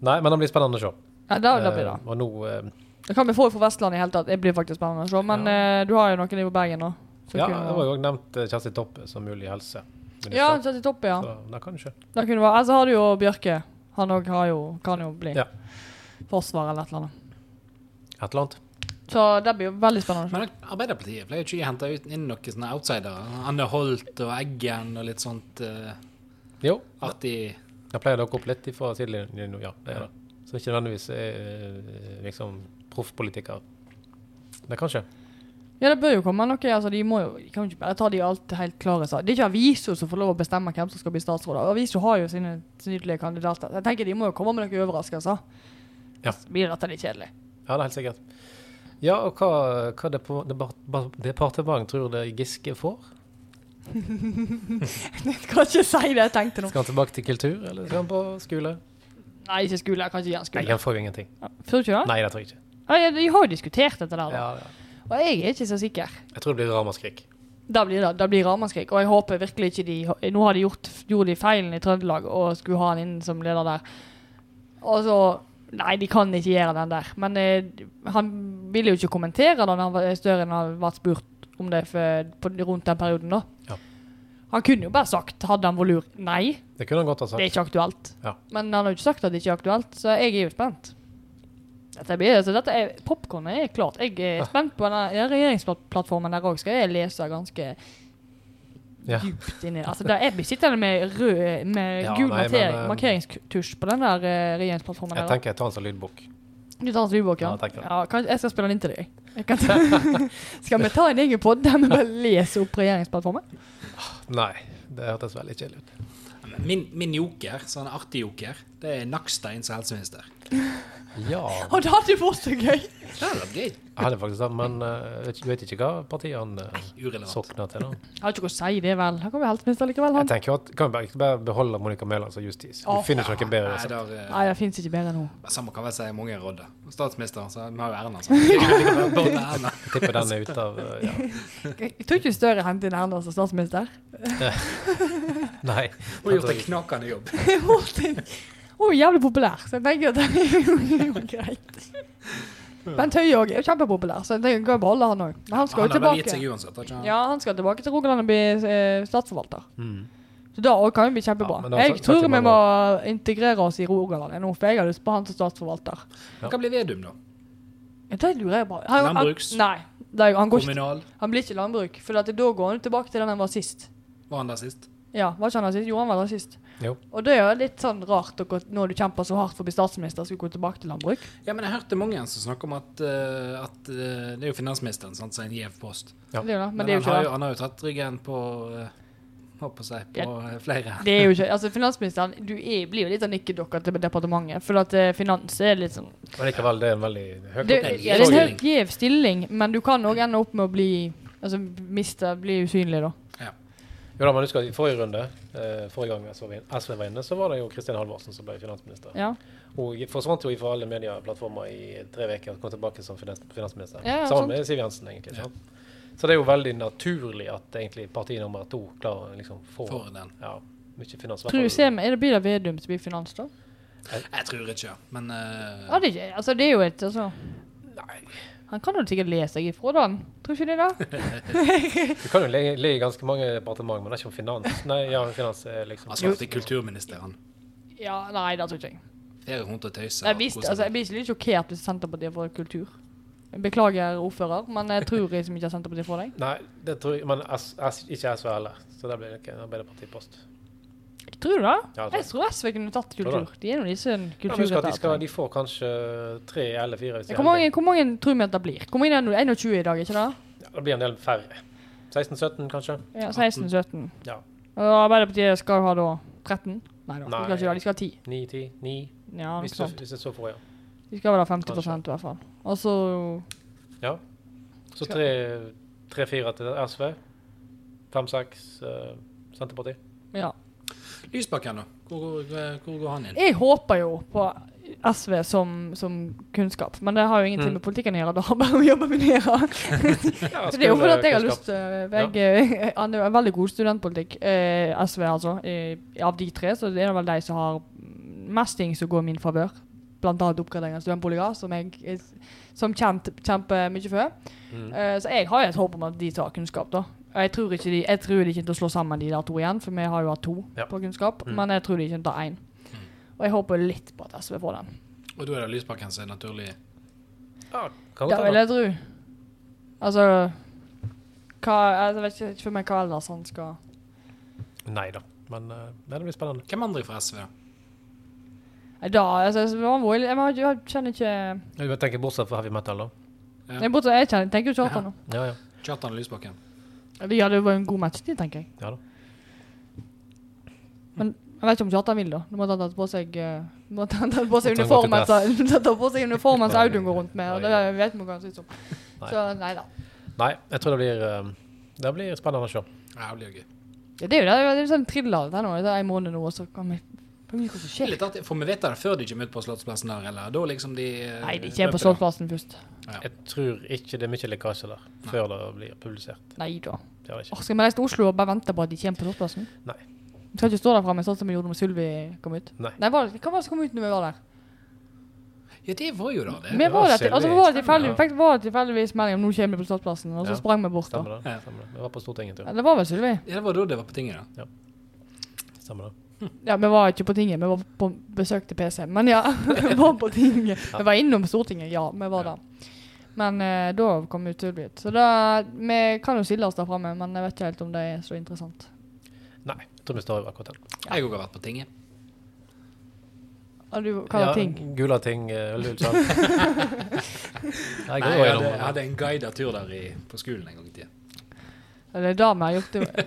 C: Nei, men det blir spennende å se.
A: Ja, da, da blir det.
C: Eh, og nå eh,
A: Det kan vi få fra Vestlandet i hele tatt. Det blir faktisk spennende å se. Men eh, du har jo noen i Bergen nå. som
C: Ja,
A: kunne-
C: det var jo også nevnt eh, Kjersti Toppe som mulig
A: ja,
C: helseminister.
A: Kjersti Toppe, ja.
C: Så det kan du ikke.
A: Da kunne det være. Altså har du jo Bjørke. Han òg har jo kan jo bli
C: Ja.
A: forsvar eller et eller annet.
C: Et eller annet.
A: Så det blir jo veldig spennende. å se.
B: Men Arbeiderpartiet pleier jo ikke å hente ut- inn noen sånne outsidere. Anne Holt og Eggen og litt sånt eh,
C: Jo,
B: artig
C: Det pleier å dukke opp litt fra sidelinjen nå, ja. Det er det. Så ikke nødvendigvis er eh, liksom proffpolitiker. Det kan skje.
A: Ja, det bør jo komme noe. Altså, de må jo de kan jo ikke bare ta de alt helt klare. sa- Det er ikke avisa som får lov å bestemme hvem som skal bli statsråd. Avisa har jo sine nydelige kandidater. Jeg tenker De må jo komme med noen overraskelser.
C: Ja.
A: Så Blir dette litt kjedelig? [laughs]
C: Ja, det er helt sikkert. Ja, og hva, hva depo- debar- bar- departement tror dere Giske får?
A: Jeg kan ikke si det jeg tenkte nå.
C: Skal han tilbake til kultur, eller skal han på skole?
A: Nei, ikke skole. Jeg kan ikke gjøre
C: Nei,
A: skole.
C: han får jo ingenting.
A: Tror du ikke det?
C: Nei, det tror jeg ikke.
A: Ja, ja, de har jo diskutert dette der, da.
C: Ja, ja.
A: og jeg er ikke så sikker.
C: Jeg tror det blir ramaskrik.
A: Da blir det, da blir det ramaskrik. Og jeg håper virkelig ikke de Nå har de gjort gjorde de feilen i Trøndelag og skulle ha han inn som leder der. Og så Nei, de kan ikke gjøre den der. Men eh, han ville jo ikke kommentere da når han var større enn han ble spurt om det for, på, rundt den perioden, da.
C: Ja.
A: Han kunne jo bare sagt, hadde han vært lur, nei,
C: Det kunne han godt ha
A: det er
C: sagt.
A: ikke aktuelt.
C: Ja.
A: Men han har jo ikke sagt at det ikke er aktuelt, så jeg er jo spent. Dette blir, så dette er, popcornet er klart. Jeg er spent på denne ja, regjeringsplattformen der òg. Skal jeg lese ganske
C: Ja.
A: dypt inni Altså, der jeg blir sittende med rød med
C: Ja,
A: gul
C: nei, men,
A: markering,
C: eh,
A: markeringstusj på den der eh, regjeringsplattformen.
C: Jeg
A: her, da.
C: tenker jeg tar han som lydbok.
A: Du tar den som lydbok, ja?
C: Ja, jeg tenker det.
A: ja kan, jeg skal spille den inn til deg. jeg. Jeg
C: [laughs]
A: kan, skal vi ta en egen podd der vi bare leser opp regjeringsplattformen?
C: Nei, Det hørtes veldig kjedelig ut.
B: Min, min joker, sånn artig joker, det er Nakstein som helseminister.
C: Ja.
A: Å, det hadde vært så gøy!
B: Det hadde vært gøy.
C: Jeg hadde faktisk sagt, men eh, vet ikke- du vet ikke hva partiet han eh,
B: Urelevant.
C: sokner til, da?
A: Jeg har ikke noe å si det, vel. Han kommer helseminister likevel,
C: Jeg
A: han.
C: tenker jo at Kan vi bare, ikke bare beholde Monica Mæland som justis? Du
A: Åh.
C: finner ikke noe bedre.
B: Nei,
C: Så.
B: der, eh,
A: Nei, det fins ikke bedre enn hun.
B: Samme kan vel si mange rådder. Statsminister, så vi har jo Erna. Så. [laughs] Vi kan bare beholde Erna.
C: Jeg tipper
A: [laughs]
C: den er ute av eh, ja.
A: Jeg tror ikke Støre henter inn Erna som statsminister.
C: Nei.
B: Hun har gjort en knakende jobb.
A: Martin. Hun er jævlig populær, så jeg tenker at det er jo greit. Bent Høie òg er jo kjempepopulær, så jeg tenker kan jo beholde han òg. Men han skal jo
B: har vel gitt seg
A: tilbake.
B: uansett. har Ikke? han?
A: Ja, han skal tilbake til Rogaland og bli eh, statsforvalter.
C: Mm.
A: Så da også kan jo bli kjempebra.
C: Ja, men da
A: jeg
C: satt- satt
A: tror
C: i
A: vi
C: mange
A: må integrere oss i Rogaland nå, for jeg har lyst på han som statsforvalter.
B: Han kan bli Vedum, da.
A: Det lurer jeg på. Han- han-
B: Landbruks?
A: Nei. Det er, jo- han, går ikke,
B: Kommunal.
A: han blir ikke landbruk, for at da går han tilbake til den han var sist.
B: Var han der sist?
A: Ja, var ikke han rasist? Jo, han var rasist.
C: Jo.
A: Og det er jo litt sånn rart å gå- når du kjemper så hardt for å bli statsminister, skal du gå tilbake til landbruk.
B: Ja, men jeg hørte mange som snakker om at, eh, at eh, det er jo finansministeren sant, som er en gjev post.
C: Ja.
A: Det er jo det, men,
B: Men
A: det er jo
B: han, har
A: ikke
B: jo,
A: det.
B: han har jo tatt ryggen på eh, Håper å si på eh, flere.
A: Det er jo ikke, altså Finansministeren du er, blir jo litt av nikkedokke til departementet. For at eh, finans er litt sånn
C: Men likevel, det er en veldig
A: Det,
C: høy
B: opp.
A: det er en helt gjev stilling, men du kan òg ende opp med å bli Altså miste, bli usynlig, da.
C: Jo da, men husker at I forrige runde, eh, forrige gang SV var inne- SV var inne, så var det jo Kristin Halvorsen som ble finansminister.
A: Ja.
C: Hun forsvant jo fra alle medieplattformer i tre uker og kom tilbake som finans finansminister.
A: Ja, ja, sant.
C: Sammen med Siv Jensen, egentlig. Sant? Så det er jo veldig naturlig at egentlig parti nummer to klarer å liksom få
B: For den.
C: ja, mye finans.
A: Tror du ser, Er det blir det Vedum som blir finans, da?
B: Jeg tror ikke, ja. men eh,
A: Ja, det, er ikke- altså, det er jo et altså.
C: Nei.
A: Han kan jo sikkert lese seg ifra, da. han. Tror ikke du det? [laughs]
C: Du kan jo le le i ganske mange departement, men det er ikke om finans. Nei, ja, finans er liksom
B: han snakket til kulturministeren.
A: Ja, Nei, det tror ikke jeg.
B: Flere hundre tøyser.
A: Jeg, visste, altså, jeg blir ikke litt sjokkert hvis Senterpartiet får kultur. Beklager, ordfører, men jeg tror liksom ikke at Senterpartiet får deg.
C: Nei, det tror jeg, men S, S, ikke SV heller. Så det blir ikke en Arbeiderpartiet-post.
A: [laughs] Tror du det?
C: Ja, det
A: Jeg tror SV kunne tatt
C: Tror
A: kultur.
C: du
A: De er jo disse
C: Ja, men husk at de, skal,
A: kulturrettene.
C: de får kanskje tre eller fire. hvis de er
A: Hvor altså. mange,
C: heldige.
A: hvor mange tror vi at det blir? Hvor mange er det nå? 21 i dag, ikke det?
C: Ja, det blir en del færre. 16-17, kanskje?
A: Ja, 16-17.
C: Ja.
A: Og Arbeiderpartiet skal ha da 13? Nei da, de skal ikke det.
C: Nei.
A: De skal ha 10.
C: 9-10? 9?
A: Ja, noe
C: Hvis du,
A: sånt.
C: hvis du så får, ja.
A: De skal vel ha 50 i hvert fall. Og så
C: ja. Så tre- tre-fire til SV. Fem-seks eh,
A: [laughs]
C: Senterpartiet.
A: Ja.
B: Lysbakken, da? Hvor, hvor, hvor går han inn?
A: Jeg håper jo på SV som, som kunnskap, men det har jo ingenting
C: Mm.
A: med politikken å gjøre. Det har bare med jobben min å gjøre.
C: Ja,
A: Så altså, Det er jo fordi at jeg har lyst
C: skolekunnskap.
A: til [laughs] jeg, Han er en veldig god studentpolitikk, eh, SV altså. Eh, av de tre så er det vel de som har mest ting som går i min favør. Blant annet oppgradering av studentboliger, som jeg eh, som kjent kjemper mye for.
C: Mm.
A: Eh, så jeg har jo et håp om at de tar kunnskap, da. Og jeg tror, ikke de, jeg tror de kommer til å slå sammen de der to igjen, for vi har jo hatt to
C: Ja.
A: på kunnskap.
C: Mm.
A: Men jeg tror de kommer til å ta én. Og jeg håper litt på at SV får den.
B: Og da er det Lysbakken som er naturlig
C: Ja, kan
A: Det
C: godt
A: vil
C: hende.
A: jeg tro. Altså hva, altså, Jeg vet ikke- ikke for meg hva ellers han skal
C: Nei da, men eh, nei, det blir spennende.
B: Hvem andre fra SV? da?
A: Nei, Da, altså, jeg, var vold, jeg, var- jeg kjenner ikke jeg,
C: Jeg tenker bortsett fra heavy metal, da.
A: bortsett, jeg kjenner, tenker jo ikke Kjartan nå.
C: Ja, ja.
B: Kjartan og Lysbakken.
A: Eller, Ja, det var en god match, det tenker jeg.
C: ja da.
A: Men jeg vet ikke om Kjartan vil, da. Nå måtte han tatt på seg eh, måtte han tatt på seg
C: Måtte han gå til
A: uniformen [laughs] som- tatt på seg uniformen som Audun går rundt med. Og
C: Oi.
A: det vet vi hva han synes om.
C: Nei.
A: Så nei da.
C: Nei, jeg tror det blir, eh, det blir spennende å se.
B: Ja, det blir gøy.
A: Ja, det er jo det, det er jo sånn thriller det er nå. Det er en måned nå, og så kan vi Hva er det som
B: Det er
A: skjer?
B: litt artig, for vi vet det før de kommer ut på Slottsplassen der, eller da liksom de eh,
A: Nei, det er ikke
B: løper
A: på
B: der.
A: Slottsplassen først.
B: Ja.
C: Jeg tror ikke det er mye lekkasje der før det blir publisert.
A: Nei da.
C: Det er det
A: Åh,
C: ikke.
A: skal vi reise til Oslo og bare vente på at de kommer på Slottsplassen?
C: Nei.
A: Vi skal ikke stå der framme sånn som vi gjorde når Sylvi kom ut?
C: Nei.
A: Nei var det, hva var det som kom ut når vi var der?
B: Ja, det var jo da det.
A: Men var det, til- altså, var det tilfeldig,
C: Ja.
A: vi fikk- var det tilfeldigvis melding om nå kommer vi på Slottsplassen, og så
C: Ja.
A: sprang vi bort. da.
C: Stemmer det. Stemmer det. Vi var på Stortinget en tur.
A: Ja, Det var vel Sylvi?
B: Ja, det var da det var på tinget, da.
C: Stemmer det.
A: Ja, vi var ikke på tinget, vi var på besøk til PC. Men ja, [laughs] vi var på tinget. Vi var innom Stortinget, ja, vi var der. Men eh, da kom vi til Sylvi ut. Så da, vi kan jo stille oss der framme, men jeg vet ikke helt om det er så interessant.
C: Nei, jeg tror vi står jo akkurat den.
B: Jeg òg har vært på tinget.
A: Og du, hva er ting?
C: Gula ting, eh, lull, sant? Nei,
B: Nei, jeg
C: jeg går
B: hadde,
C: gjennom
B: jeg hadde en guidet tur der i, på skolen en gang i tida.
A: Eller det er det vi har gjort det.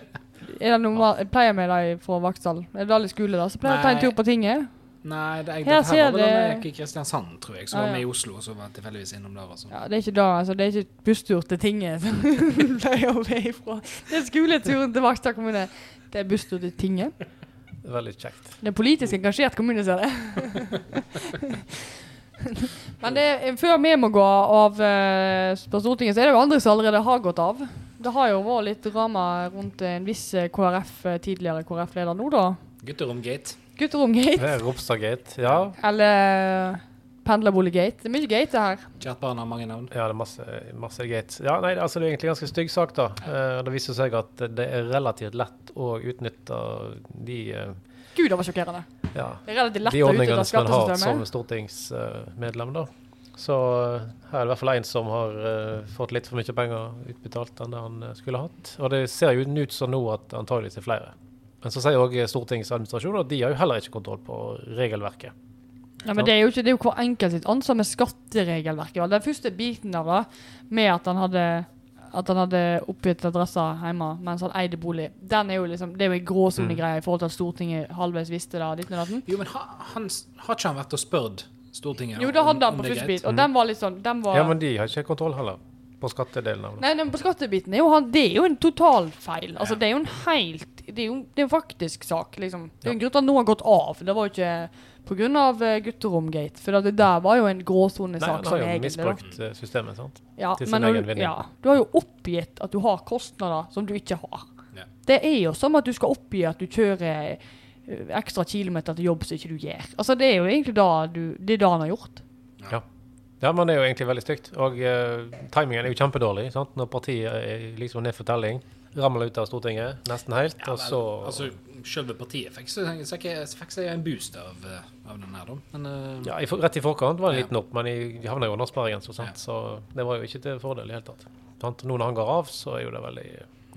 A: Er det normal, Pleier vi de fra Vaksdal? Er det alle skole, da? Så pleier jeg å ta en
B: Nei.
A: tur på tinget.
B: Nei, det, jeg,
A: Her
B: her
A: ser
B: var vel da jeg
A: det-
B: gikk i Kristiansand, tror jeg. Så
A: Ja,
B: var vi
A: ja.
B: i Oslo, og så var jeg tilfeldigvis innom der. Altså.
A: Ja, det er ikke da, altså. Det er ikke busstur til tinget som [laughs] pleier å være ifra. Det er skoleturen til Vaksdal kommune. Det er busstur til tinget.
C: Veldig kjekt.
A: Det er en politisk engasjert kommune, ser jeg. [laughs] Men det er, før vi må gå av eh, på Stortinget, så er det jo andre som allerede har gått av. Det har jo vært litt drama rundt en viss eh, KrF, eh, tidligere KrF-leder nå, da.
B: Gutterom-gate.
C: Det
A: Gutteromgate.
C: er Ropstadgate. Ja.
A: Eller pendlerboliggate. Det er mye gate her.
B: Kjært barn har mange navn.
C: ja, det er masse, masse gate. Ja, nei, altså Det er egentlig en ganske stygg sak, da. Eh, Det viser seg at det er relativt lett å utnytte de eh,
A: Gud, det var sjokkerende.
C: ja,
A: Det er relativt lett
C: de
A: å eh. utnytte
C: ordningene som en har som
A: skattesystemet.
C: stortingsmedlem, da. Så eh, her er det i hvert fall én som har eh, fått litt for mye penger utbetalt enn det han eh, skulle hatt. Og det ser jo ut som nå at det antageligvis er flere. Men så sier òg stortingsadministrasjonen at de har jo heller ikke kontroll på regelverket.
A: Ja, men det er jo ikke det er jo hver enkelt sitt ansvar med skatteregelverket. vel. Den første biten av det, med at han hadde at han hadde oppgitt adressa hjemme mens han eide bolig. Den er jo liksom, Det er jo en gråsonegreie i forhold til at Stortinget halvveis visste det. Ditt og datten.
B: Jo, men ha, han, har ikke han vært og spørt Stortinget
A: Jo, det
B: om-
A: hadde han
B: om
A: på
B: det er
A: første
B: greit?
A: bit, og den var litt sånn den var,
C: Ja, men de har ikke kontroll heller på skattedelen av det.
A: Nei, nei, på skattebiten er jo han Det er jo en totalfeil. Altså,
B: Ja.
A: det er jo en helt Det er jo det er en faktisk sak, liksom. Det er jo en grunn til at noen har gått av. Det var jo ikke på grunn av eh, gutteromgate. For at det der var jo en
C: Nei, han
A: gråsonesak.
C: har
A: sånn
C: jo
A: egentlig, da.
C: misbrukt eh, systemet, sant.
A: Ja,
C: til sin
A: men når
C: egen
A: du-
C: vinning.
A: Ja, du har jo oppgitt at du har kostnader som du ikke har.
B: Ja.
A: Det er jo som at du skal oppgi at du kjører eh, ekstra kilometer til jobb som ikke du gjør. Altså, det er jo egentlig da du, det er da han har gjort.
C: Ja, men det er jo egentlig veldig stygt. Og eh, timingen er jo kjempedårlig. sant? Når partiet er liksom ned for telling, ramler ut av Stortinget nesten helt,
B: Ja,
C: og
B: vel,
C: så
B: Altså, selve partiet fikk seg fikk seg en boost av, eh, av den her, da. Men eh,
C: ja, i, for- Rett i forkant var det en
B: Ja.
C: liten opp, men i, vi havna jo under sperregrensa, sant?
B: Ja.
C: så det var jo ikke til fordel i det hele tatt. Sant? Nå når han går av, så er jo det veldig,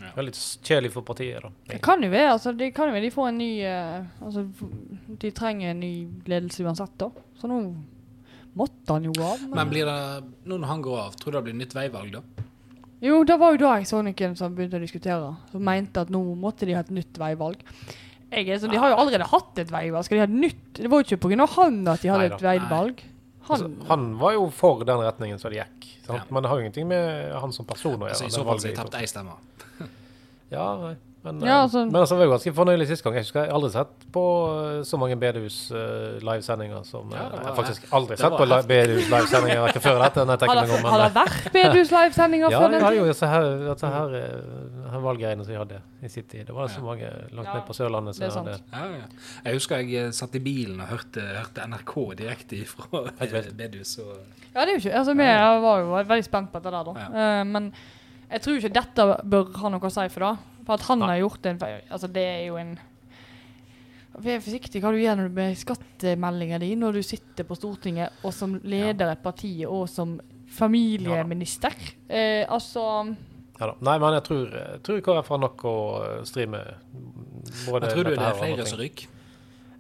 B: Ja.
C: veldig kjedelig for partiet, da.
A: Det kan jo være altså, det kan jo være de får en ny eh, Altså, de trenger en ny ledelse uansett, da. Så nå måtte han jo gå av. Men...
B: Men blir det, nå når han går av, tror du det blir nytt veivalg da?
A: Jo, det var jo da jeg så noen som begynte å diskutere, som mente at nå måtte de ha et nytt veivalg. Jeg er sånn, De har jo allerede hatt et veivalg. Skal de ha et nytt? Det var jo ikke pga. han at de hadde
C: Neida.
A: et veivalg. Han,
C: Altså, han var jo for den retningen som det gikk, sant?
B: Ja.
C: men det har jo ingenting med han som person å gjøre.
B: altså, I
C: det
B: så fall så har
C: valget
B: jeg
C: i
B: tapt ei stemme.
C: Ja, nei. Men,
A: Ja,
C: eh,
A: altså-
C: men altså, det var jo ganske fornøyelig sist gang. Jeg husker jeg har aldri sett på eh, så mange bedehus-livesendinger som eh,
B: Ja, det var-
C: Jeg har faktisk aldri
B: det
C: sett
B: var
C: på
B: heftig.
C: bedehus-livesendinger ikke før dette. når jeg
A: har det,
C: Altså, tenker meg om,
A: har det
C: men,
A: vært
C: [laughs]
A: Bedus livesendinger
C: eh, ja,
A: før
C: jeg
A: den
C: hadde
A: tid?
C: jo disse her, disse her, eh, her valggreiene som vi hadde i sin tid. Det var så mange langt
A: Ja,
C: ned på Sørlandet som
A: det er
C: hadde
A: sant.
B: Ja, ja. Jeg husker jeg eh, satt i bilen og hørte, hørte NRK direkte fra
C: [laughs] vet.
B: Bedus. Og,
A: Ja, det er jo ikke Altså, vi var jo veldig spent på dette der, da. Eh, men jeg tror ikke dette bør ha noe å si for det. For at han
C: Nei.
A: har gjort en feil Altså, det er jo en Vær forsiktig hva du gjør når du med skattemeldinga di når du sitter på Stortinget og som leder et parti og som familieminister. Eh, altså
C: Ja, da. Nei, men jeg tror, jeg tror KrF har nok å eh, stri med. Både
B: men tror du
C: dette
B: det
C: her
B: er
C: og andre
B: flere
C: ting.
B: som ryker?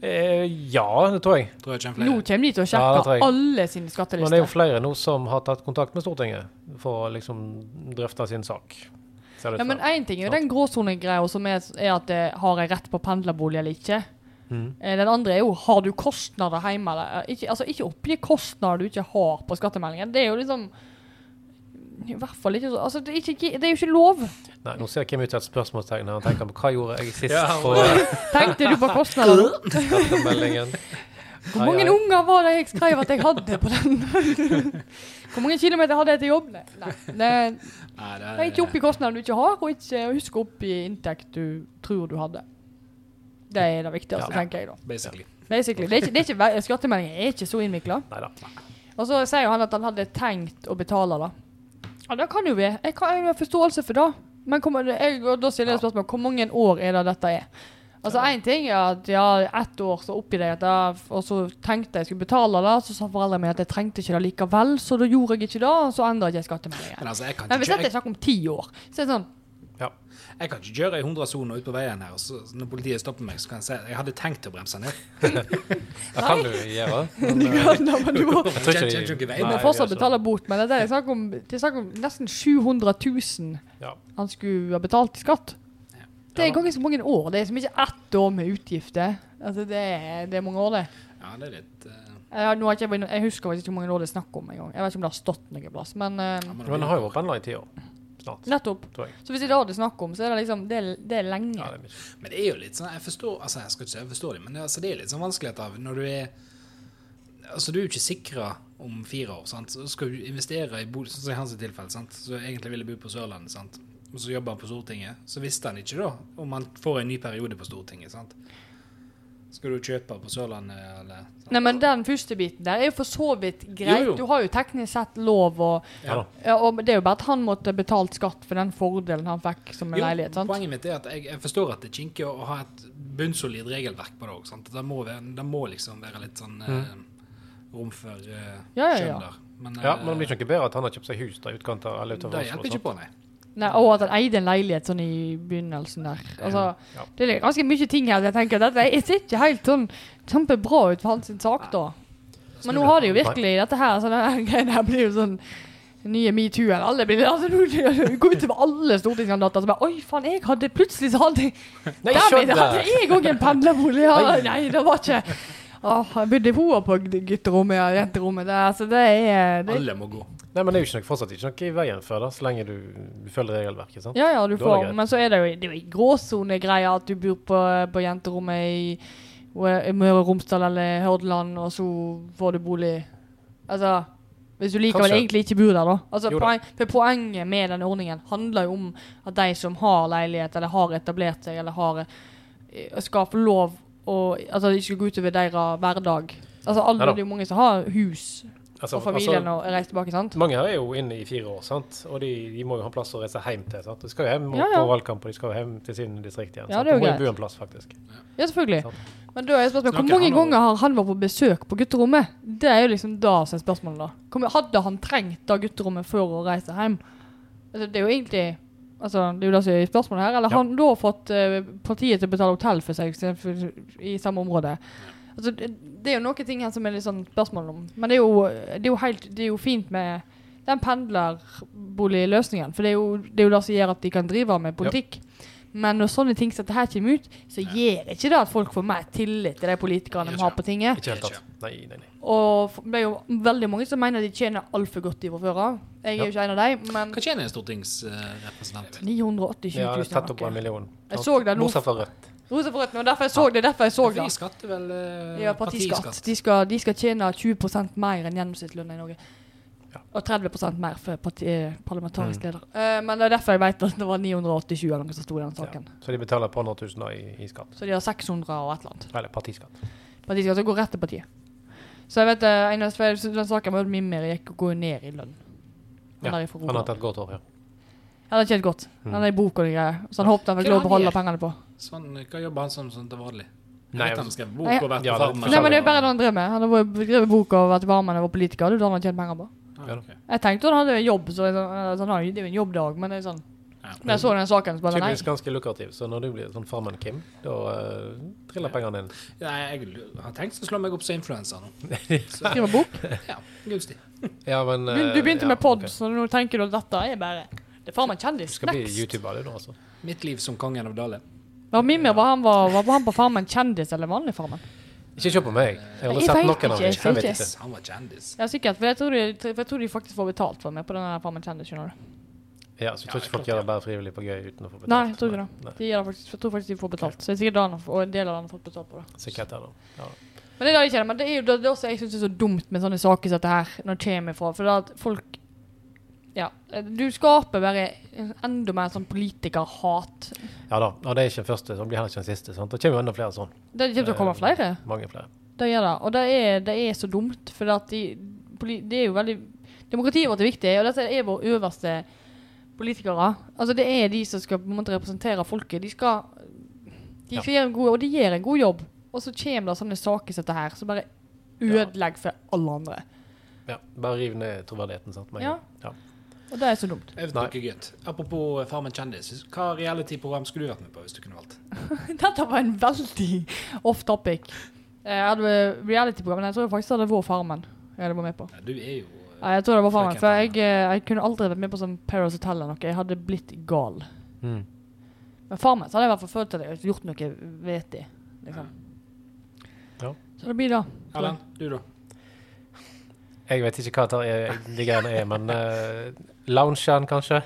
C: Eh, ja, det tror jeg.
B: Tror jeg kommer
A: Nå
B: flere.
A: kommer de til å
C: Ja, det
A: sjekke
C: tror jeg.
A: alle sine
C: Men det er
A: skattelister.
C: jo flere nå som har tatt kontakt med Stortinget for å liksom drøfte sin sak. Ser det
A: Ja,
C: ut
A: men
C: som.
A: Én ting er jo den gråsonegreia som er, er at eh, har jeg rett på pendlerbolig eller ikke.
C: Mhm.
A: Eh, Den andre er jo har du kostnader hjemme eller eh, ikke, Altså ikke oppgi kostnader du ikke har på skattemeldingen. Det er jo liksom I hvert fall ikke så Altså det er, ikke, det er jo ikke lov.
C: Nei, nå ser Kim ut som et spørsmålstegn her. Han tenker på hva gjorde jeg sist
B: Ja.
C: på
A: Tenkte du på kostnader?
C: skattemeldingen?
A: [laughs] Hvor mange
C: Ai, ai.
A: unger var det jeg skrev at jeg hadde på den? [laughs] Hvor mange kilometer hadde jeg til jobb? Nei, Nei. Det,
B: Nei, det
A: det er ikke oppgi kostnader du ikke har, og ikke husk å oppgi inntekt du tror du hadde. Det er det viktigste,
B: Ja.
A: tenker jeg da.
B: Basically.
A: Basically. Det er ikke, det er ikke, ve- skattemeldingen er ikke så innvikla.
C: Neida.
A: Og så sier jo han at han hadde tenkt å betale, da. Ja, det kan jo vi. Jeg kan jeg har forståelse for det. Men hvor, ma- jeg, og da stiller jeg spørsmål hvor mange år er det dette er? Altså Én ting er at ja, ett år så oppgir jeg at jeg, og så tenkte jeg skulle betale det, så sa foreldrene mine at jeg trengte ikke det likevel, så da gjorde jeg ikke det, og så endra ikke jeg skattemeldingen.
B: Men altså, jeg kan
A: Men hvis
B: ikke,
A: dette er
B: jeg,
A: snakk om ti år, så er det sånn
B: jeg kan ikke kjøre i 100-sona ut på veien her, og så så når politiet stopper meg, så kan jeg si at jeg hadde tenkt å bremse ned.
C: Det kan du gjøre.
A: Du kan [laughs] da, men du må
C: Jeg
B: Kjenner- kjenner du ikke veien?
A: Du
C: Nei,
A: må
C: jeg
A: fortsatt
C: gjør ikke
A: betale bot, men det er snakk om, det er snakk om nesten 700 000
C: Ja.
A: han skulle ha betalt i skatt.
B: Ja.
A: Det er ganske mange år. Det er som ikke ett år med utgifter. Altså, det er, det er mange år, det.
B: Ja, det er litt eh,
A: Jeg, har- nå har ikke jeg, vært inne- jeg husker faktisk ikke hvor mange år det er snakk om engang. Jeg vet ikke om det har stått noe plass, men eh,
B: ja, men
C: Men den har jo vært pendla i ti år. Snart.
A: nettopp.
C: Tror jeg.
A: Så hvis det er det det er snakk om, så er det liksom Det er, det er lenge.
C: Ja, det er mye.
B: Men det er jo litt sånn Jeg forstår altså jeg skal ikke si jeg forstår det, men det, altså, det er litt sånn vanskelighet av når du er Altså, du er jo ikke sikra om fire år, sant. Så skal du investere i bolig, sånn som i hans tilfelle, sant. Så egentlig ville bo på Sørlandet, sant. Og så jobber han på Stortinget. Så visste han ikke, da, om han får en ny periode på Stortinget, sant. Skal du kjøpe på Sørlandet, eller sant?
A: Nei, men den første biten der er jo for så vidt greit.
B: Jo, jo.
A: Du har jo teknisk sett lov å
C: Ja da.
A: ja, og Det er jo bare at han måtte betalt skatt for den fordelen han fikk som en leilighet. sant?
B: Poenget mitt er at jeg, jeg forstår at det er kinkig å ha et bunnsolid regelverk på det òg. Det, må være- det må liksom være litt sånn
C: Mm.
B: eh, rom for eh,
A: Ja, ja,
B: skjønn
A: ja.
B: der. Men,
C: Ja,
B: eh,
C: men det blir ikke noe bedre at han har kjøpt seg hus der i utkant av eller utover
B: det hjelper ikke på, nei.
A: Nei, og at han eide en leilighet sånn i begynnelsen der. Altså,
C: Ja.
A: Det er ganske mye ting her jeg tenker at dette ser ikke helt sånn kjempebra ut for hans sin sak, da. Men nå har de jo virkelig dette her, så denne [laughs] greien her blir jo sånn nye metoo eller alle blir altså, nå går ut over alle stortingskandidater som bare Oi, faen, jeg hadde plutselig så hadde jeg
C: Nei,
A: Der
C: skjønn
A: min, hadde
C: det!
A: jeg òg en pendlerbolig! Ja,
C: Oi.
A: nei, det var ikke Åh, Jeg bodde i Hoa på gutterommet og jenterommet der, så det er det,
B: Alle må gå.
C: Nei, men det er jo ikke noe, fortsatt ikke noe i veien for det, så lenge du, du følger regelverket. sant?
A: Ja, ja, du
C: Da er det
A: får
C: greit.
A: Men så er det jo det er jo en gråsonegreie at du bor på, på jenterommet i i Møre og Romsdal eller Hordaland, og så får du bolig Altså Hvis du likevel
C: Kanskje.
A: egentlig ikke bor der, da. Altså,
C: Jo da.
A: poen, for Poenget med den ordningen handler jo om at de som har leilighet, eller har etablert seg, eller har eh, skal få lov å Altså det ikke skal gå utover deres hverdag. Altså alle,
C: Neida.
A: Det er jo mange som har hus
C: Altså,
A: og familien
C: altså,
A: og reiser tilbake, sant?
C: mange her er jo inne i fire år, sant? og de, de må jo ha en plass å reise hjem til. sant? De skal jo hjem og
A: Ja, ja.
C: på valgkamp, og de skal jo hjem til sin distrikt igjen.
A: Ja,
C: sant?
A: det er jo
C: de må
A: greit.
C: jo bo en plass, faktisk.
A: Ja, selvfølgelig.
C: Sant.
A: Men da er spørsmålet, hvor
B: Snakker
A: mange
B: han om-
A: ganger har han vært på besøk på gutterommet? Det er jo liksom da som er spørsmålet, da. Hvor mye- Hadde han trengt da gutterommet for å reise hjem? Altså, det er jo egentlig Altså, det er jo det som er spørsmålet her. Eller
C: Ja.
A: har han da fått eh, partiet til å betale hotell for seg se- for, i samme område? Altså, det, det er jo noen ting her som er litt sånn spørsmål om. Men det er jo, det er jo, helt, det er jo fint med den pendlerboligløsningen. For det er, jo, det er jo det som gjør at de kan drive med politikk. Men når sånne ting som dette her kommer ut, så gjør ikke det at folk får mer tillit til de politikerne de har på tinget.
C: Ikke helt tatt. Nei, nei, nei.
A: Og f- det er jo veldig mange som mener de tjener altfor godt i fra før av. Jeg er jo ikke en av dem, men
B: Hva tjener en stortingsrepresentant?
A: 928
C: Ja, det er
A: 000
C: tett opp
A: er
C: en
A: noe.
C: million.
A: Jeg
C: sant?
A: så det nå.
C: Bortsett fra Rødt.
A: Rosa for rødt, men derfor jeg så det. derfor jeg så det.
B: Fri skatt er vel eh,
A: Ja, partiskatt. De skal, de skal tjene 20 mer enn gjennomsnittslønna i Norge.
C: Ja. Mm.
A: Og 30 mer for parti, eh, parlamentarisk leder. Eh, men det er derfor jeg vet at det var 987 eller noe som sto i den
C: Ja.
A: saken.
C: Så de betaler et par hundre tusen da i, i skatt.
A: Så de har 600 og et eller annet.
C: Eller partiskatt.
A: Partiskatt som går rett til partiet. Så jeg vet eh, en av jeg synes den saken med Mimmer gikk og går ned i lønn. Han
C: Ja,
A: er fra
C: han har
A: Rogaland.
C: tatt Mm. godt år, ja.
A: Ja, det er ikke helt godt. Han er i bok og de greier. Så han håpet han fikk
B: Hva
A: lov å beholde
B: gjør?
A: pengene på.
B: Sånn, hva jobber han som sånn til vanlig? Jeg
C: Nei,
B: vet
C: jeg-
B: han skrev
A: Nei,
B: bok og vært
C: ja,
B: på
C: det-
B: farmen.
A: Nei, men det er bare det han drev med. Han har skrevet bok og vært varmen og var politiker. Det er det han har tjent penger på.
B: Ah, ok.
A: Jeg tenkte han hadde en jobb, så jeg sånn, altså, han har jo- det er jo en jobbdag, men det er sånn
B: Ja.
A: Når jeg så den saken, så bare nei.
C: Tydeligvis ganske lukrativ, så når du blir sånn Farmen-Kim, da eh, triller pengene inn.
B: Nei, jeg har tenkt å slå meg opp som influenser
C: [laughs]
B: nå.
A: Skriver bok.
B: Ja, gunstig.
C: Ja, men
A: Du,
C: eh,
A: du begynte
C: ja,
A: med pod,
C: ok.
A: så nå tenker du at dette er bare Det er faen meg kjendis.
C: Skal bli
A: Next.
C: YouTuber, du nå, altså.
B: Mitt liv som kongen av Dale.
A: Var Mimir var han, var, var han på Farmen kjendis eller vanlig Farmen?
C: Ikke se på meg. Jeg har
A: Jeg
C: aldri sett
A: vet
C: noen av
A: ikke,
C: dem.
A: jeg
C: Jeg
A: vet
C: vet
A: ikke.
C: ikke.
B: Han var kjendis.
A: Ja, sikkert. For jeg tror de, for jeg tror de faktisk får betalt for meg på denne Farmen kjendis, skjønner du.
C: Ja, så jeg tror ikke folk gjør det bare frivillig på gøy uten å få betalt.
A: Nei, jeg tror ikke det.
C: Nei,
A: De gjør det faktisk, jeg tror faktisk de får betalt. Så det er sikkert Dan og en del av dem har fått betalt på det.
C: Sikkert er det. Ja.
A: Men det er det jeg kjenner, men det er jo det, det er også jeg synes er så dumt med sånne saker som dette her, når det kommer fra, for det er at folk, ja, du skaper bare enda mer sånn politikerhat.
C: ja da. Og det er ikke den første, så det blir heller ikke den siste. sant? Det kommer jo enda flere sånn.
A: Det
C: Eh,
A: kommer til å komme flere,
C: Mange flere.
A: det gjør det, og det er, det er så dumt, for det, at de, poli- det er jo veldig, demokratiet vårt er viktig, og dette er vår øverste politikere, altså det er de som skal på en måte representere folket, de skal, de skal gjøre en god, og de gjør en god jobb, og så kommer det sånne saker som dette her, som bare
C: Ja.
A: ødelegger for alle andre.
C: Ja, Bare riv ned troverdigheten. sant? med en
A: Ja.
C: gang. ja.
A: Og det er så dumt.
B: Jeg vet
C: Nei.
B: ikke, gutt. Apropos eh, Farmen kjendis. Hva reality-program skulle du vært med på hvis du kunne valgt?
A: [laughs] Dette var en veldig off topic. Eh, Jeg hadde reality-program, men jeg tror faktisk det var Farmen jeg hadde vært med på.
B: Nei, Du er jo eh,
A: Nei, jeg tror det var Farmen,
B: Frøken
A: for jeg,
B: Farmen.
A: eh, jeg kunne aldri vært med på sånn Paris Hotel eller noe. Jeg hadde blitt gal.
C: Mm.
A: Men far min så hadde jeg i hvert fall følt at jeg hadde gjort noe vettig. Liksom.
C: Ja.
A: Så det blir det. tror jeg.
B: eh, Erlend, du, da?
C: Jeg vet ikke hva det er, de greiene er, men eh, loungen, kanskje?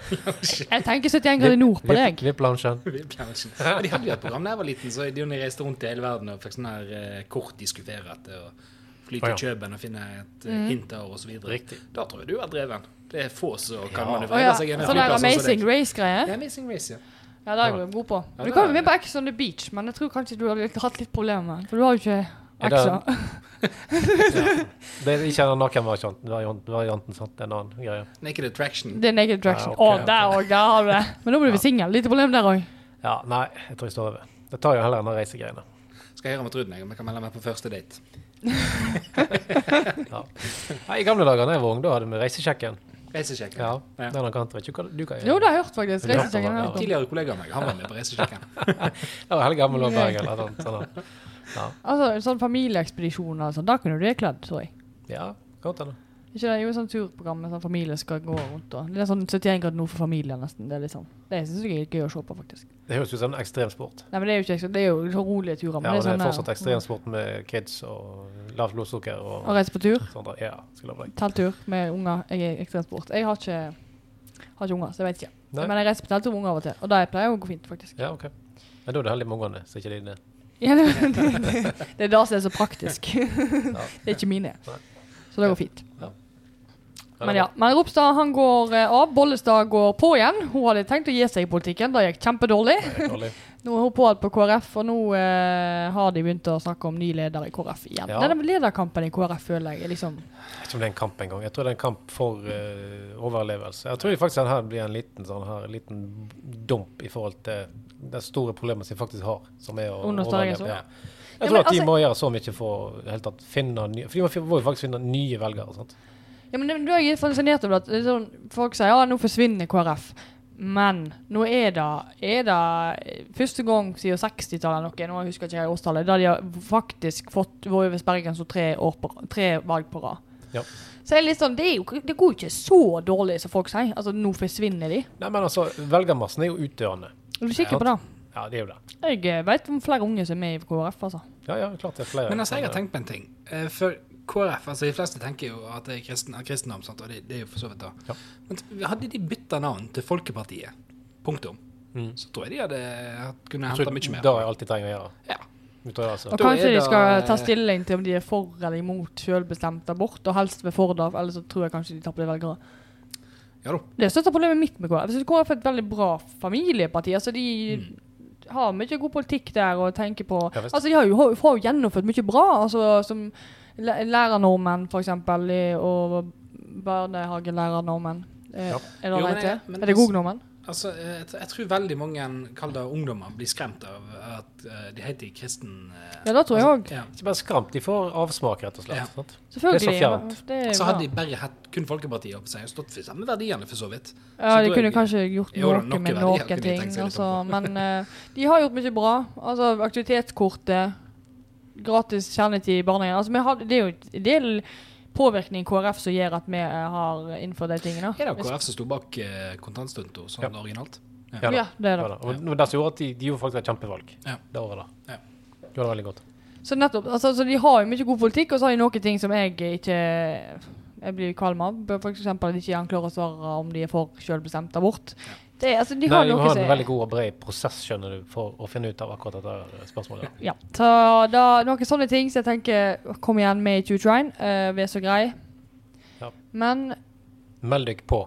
A: Jeg tenker 71 grader nord på
C: Vip-
A: deg.
C: VIP-loungen.
B: Vip-loungen. Men De hadde jo et program da jeg var liten, så de reiste rundt i hele verden og fikk sånn her eh, kort de skulle fere etter. Og fly
C: Å,
B: til
C: ja.
B: Kjøben og finne et
A: Mm.
B: eh, hint der, og så videre.
C: Riktig.
B: Da tror jeg du er dreven. Det er få som kan
C: Ja.
A: Å
B: manøvrere
A: ja.
B: seg i en
A: Sånn der
B: flyplass sånn som
A: Amazing
B: deg.
A: Race-greie.
B: Ja, Amazing Race, ja.
A: Ja, det er jeg god på. Du
B: Ja, det
A: kan jo
B: er-
A: med på Ex on the Beach, men jeg tror kanskje du hadde hatt litt problemer med det. For du har jo ikke
C: Er det-
A: Exa.
C: Det er ikke en nakenvariant, variant- varianten, sant? Det er en annen greie.
B: Naked Attraction.
A: Det er Naked Attraction.
C: Ja,
A: Å,
C: Ah, ok, ok.
A: der òg! Der har du det. Men nå blir vi singel. Lite problem der òg.
C: Ja, nei, jeg tror jeg står over. Det tar jo heller enn de reisegreiene.
B: Skal jeg høre med Truden jeg, om jeg kan melde meg på første date.
C: Ja. Nei, I gamle dager da jeg var ung, da hadde vi reisesjekken.
B: Reisesjekken.
C: Ja,
B: Ja.
C: Den kan jeg ikke hva du kan gjøre.
A: Jo, det har jeg hørt, faktisk.
C: Ja.
A: Reisesjekken har jeg hørt om.
B: Tidligere kollega av meg, han var med på reisesjekken.
C: Det var hele gammel og Bergen eller noe sånt. sånn.
A: Altså, en sånn familieekspedisjon og sånn. Da kunne du det kledd, tror jeg.
C: Ja, godt hende.
A: Ikke det, jo, sånn turprogram med sånn familie skal gå rundt og Det er sånn 71 grader nord for familien, nesten. Det er liksom Det syns jeg er gøy å se på, faktisk.
C: Det høres ut som en ekstremsport.
A: Nei, men det er jo ikke Det er jo så rolige turer. Men
C: Ja, og det
A: sånn
C: er
A: der-
C: fortsatt ekstremsport med kids og lavt blodsukker
A: mm. Å
C: og
A: reise på tur.
C: sånt. der. Ja, skal jeg love deg.
A: Telttur med unger. Jeg er ekstremsport. Jeg har ikke Har ikke unger, så jeg vet ikke.
C: Nei?
A: Men jeg reiser på telttur med unger av og til, og det pleier jo å gå fint, faktisk.
C: Ja, ok. Men da er det heldig med ungene, så ikke de er inne.
A: Ja, det, det [laughs] er det som er så praktisk. Det er ikke mine.
C: Nei.
A: Så det går fint.
C: Ja,
A: Men
C: det
A: ja, men Ropstad han går eh, av. Bollestad går på igjen. Hun hadde tenkt å gi seg i politikken. Det gikk kjempedårlig.
C: var dårlig.
A: Nå er hun på alt på KrF, og nå eh, har de begynt å snakke om ny leder i KrF igjen.
C: Ja.
A: Denne lederkampen i KrF føler jeg er liksom
C: Jeg vet ikke om det er en kamp engang. Jeg tror det er en kamp for eh, overlevelse. Jeg tror faktisk den her blir en liten, sånn her, liten dump i forhold til det store problemet som de faktisk har, som er å
A: Understreker så.
C: overleve. Ja.
A: Ja,
C: Jeg tror
A: men
C: at de
A: altså-
C: må gjøre så mye for i hele tatt finne nye For de må, fi- må jo faktisk finne nye velgere. Sant?
A: Ja, men det- Da er jeg litt fascinert over at det er sånn, folk sier ja, nå forsvinner KrF. Men nå er det, er det første gang siden 60-tallet eller noe, nå husker jeg ikke jeg årstallet, da de har faktisk fått vært over sperregrensen tre, år på, ra- tre valg på rad.
C: Ja.
A: Så jeg er litt sånn, det, er jo, det går jo ikke så dårlig som folk sier. Altså, nå forsvinner de.
C: Nei, men altså, velgermassen er jo utdørende.
A: Er du sikker på det?
C: Ja, det er jo det.
A: Jeg eh, vet om flere unge som er med i KrF, altså.
C: Ja, ja, klart det er flere.
B: Men altså, jeg har tenkt på en ting. Eh, For KrF, altså de fleste tenker jo at det er kristen, er kristendom, sant? og det, det er jo for så vidt da.
C: Ja.
B: Men t- hadde de bytta navn til Folkepartiet, punktum, så tror jeg de hadde hatt- kunne
C: Mm. Jeg tror
B: henta mye mer.
C: Det er alt de trenger å gjøre.
B: Ja.
C: Ut av det, altså.
A: Og
B: Da er
A: kanskje de
B: det-
A: skal ta stilling til om de er for eller imot selvbestemt abort, og helst ved for det, ellers så tror jeg kanskje de tapper velgere.
B: ja da.
A: Det er største problemet mitt med KrF. Jeg synes KrF er et veldig bra familieparti. Altså, de har mye god politikk der og tenker på
C: Mm. Ja, visst.
A: Altså, de har jo, har- får jo gjennomført mye bra, altså, som læ- lærernormen, for eksempel, i- og barnehagelærernormen. Eh,
C: Ja.
A: Er det
B: Jo, men
A: rett
B: jeg-
A: det?
B: men
A: Er det
B: altså-
A: god-normen?
B: Altså, eh, jeg, jeg tror veldig mange kall det ungdommer blir skremt av at eh, de heter kristen... eh,
A: Ja, det tror jeg òg.
B: ja.
C: Ikke bare skramt, de får avsmak, rett og slett.
B: Ja.
C: Sant?
A: Selvfølgelig.
C: Det er så fjernt.
A: Det er
B: Så
A: bra.
B: hadde de bare hatt kun Folkepartiet oppe seg og stått for samme verdiene, for så vidt.
A: Ja, de
B: tror
A: kunne
B: jeg-
A: kanskje gjort
B: Jo,
A: noe,
B: da, noe
A: med
B: verdier
A: noen
B: kunne de
A: ting,
B: tenkt seg liksom. litt
A: altså,
B: om.
A: men eh, de har gjort mye bra. Altså, aktivitetskortet, gratis kjernetid i barnehagen. Altså, vi har, det er jo en del påvirkning i KrF som gjør at vi eh, har innført de tingene.
B: Er det KrF som sto bak eh, kontantstøtta sånn originalt?
C: Ja da.
A: Ja, det er
C: Ja,
A: det.
C: da. Og det var det som gjorde at de, de gjorde faktisk et kjempevalg
B: Ja.
C: det året. da.
B: Ja.
C: Gjorde det veldig godt.
A: Så nettopp, altså, så de har jo mye god politikk, og så har de noen ting som jeg ikke jeg blir kvalm av. For eksempel at de ikke klarer å svare om de er for selvbestemt abort. Det, er- altså, de
C: Nei,
A: har
C: vi
A: noe
C: har
A: som
C: en
A: er-
C: veldig god og bred prosess skjønner du, for å finne ut av akkurat dette eh, spørsmålet.
A: Ja. Så da, noen sånne ting så jeg tenker Kom igjen med i 2021. eh, vi er så greie.
C: Ja.
A: Men
C: Meld deg på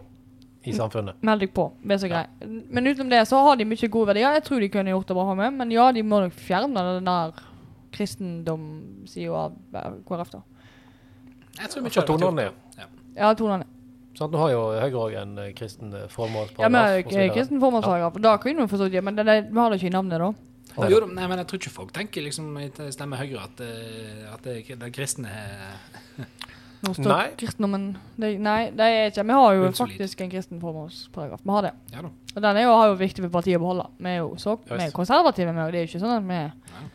C: i samfunnet.
A: meld deg på. Vi er så greie. Men utenom det så har de mye gode verdier. Jeg tror de kunne gjort det bra med, men ja, de må nok fjerne den der kristendomssida av eh, KrF, da.
B: Jeg tror
C: Og
B: mye
C: så
B: hadde vært
C: tonene.
B: gjort.
A: Ja, tonene.
C: Sant? nå har jo Høyre òg en eh, kristen eh,
A: Ja, men
C: formålsparagraf.
A: eh, kristen formålsparagraf. Da kunne vi forstått det, men det, det, vi har det ikke i navnet, da.
C: Ja.
B: Jo, da, nei, men jeg tror ikke folk tenker liksom i t- stemmer Høyre at, eh, at det, den kristne eh,
A: Nå står
C: Nei.
A: kristendommen det, Nei, det er ikke Vi har jo
B: Bunnsolid.
A: faktisk en kristen formålsparagraf. Vi har det.
B: Ja da.
A: Og den er jo, har jo viktig for partiet å beholde. Vi er jo så, vi
C: Ja,
A: er
C: visst.
A: konservative, vi, og det er jo ikke sånn at vi
B: Nei.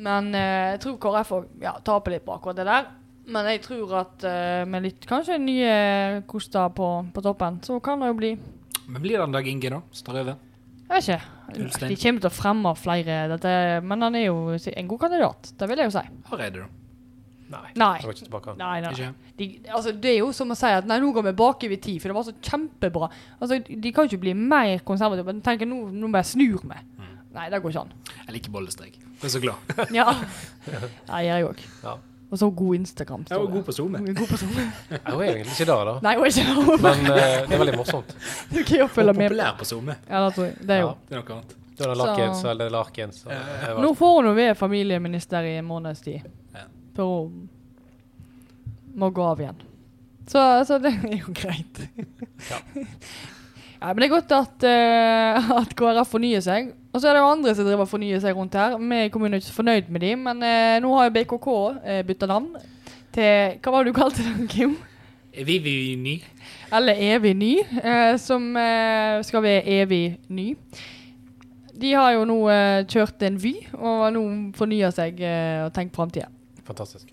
A: Men eh, jeg tror KrF òg ja, taper litt på akkurat det der. Men jeg tror at eh, med litt kanskje nye koster på, på toppen, så kan det jo bli
B: Men blir det en Dag Inge, da? Som tar over?
A: Jeg vet ikke.
B: Ulstein.
A: De kommer til å fremme flere, dette, men han er jo en god kandidat. Det vil jeg jo si.
B: Hareide, da?
C: Nei.
A: Nei.
C: Jeg går ikke tilbake.
A: Nei, nei.
B: Ikke?
A: De, altså, det er jo som å si at nei, nå går vi bakover i tid, for det var så kjempebra. Altså, de kan jo ikke bli mer konservative. Men tenk, nå, nå bare snur vi.
C: Mm.
A: Nei, det går ikke an.
B: Jeg liker bollestrek. Jeg er så glad.
A: Ja. [laughs] Nei, jeg òg.
C: Ja.
A: Og så god Instagram.
B: Jeg var god på SoMe.
A: God på sånn.
C: Jeg er jo egentlig ikke der, da.
A: Nei, hun er ikke det.
C: Men eh, det er veldig morsomt.
A: Du kan jo følge med.
B: Populær på SoMe.
A: Ja, det tror jeg. [laughs] Det er jo.
C: Ja.
B: Det er noe annet.
C: Du har Larkens eller Larkens. og- jeg vet-
A: Nå får hun jo være familieminister i en måneds tid.
B: Ja.
A: Før hun må gå av igjen. Så, så det er jo greit.
C: Ja.
A: Ja, men det er godt at, eh, at KrF fornyer seg. Og så er det jo andre som driver og fornyer seg rundt her. Vi i kommunen er ikke så fornøyd med dem, men eh, nå har jo BKK uh, bytta navn til Hva var det du kalte den, Kim?
B: Er vi vi ny?
A: Eller Evig ny, eh, som eh, skal være evig ny. De har jo nå eh, kjørt en Vy, og nå fornyer seg eh, og tenker framtida.
C: Fantastisk.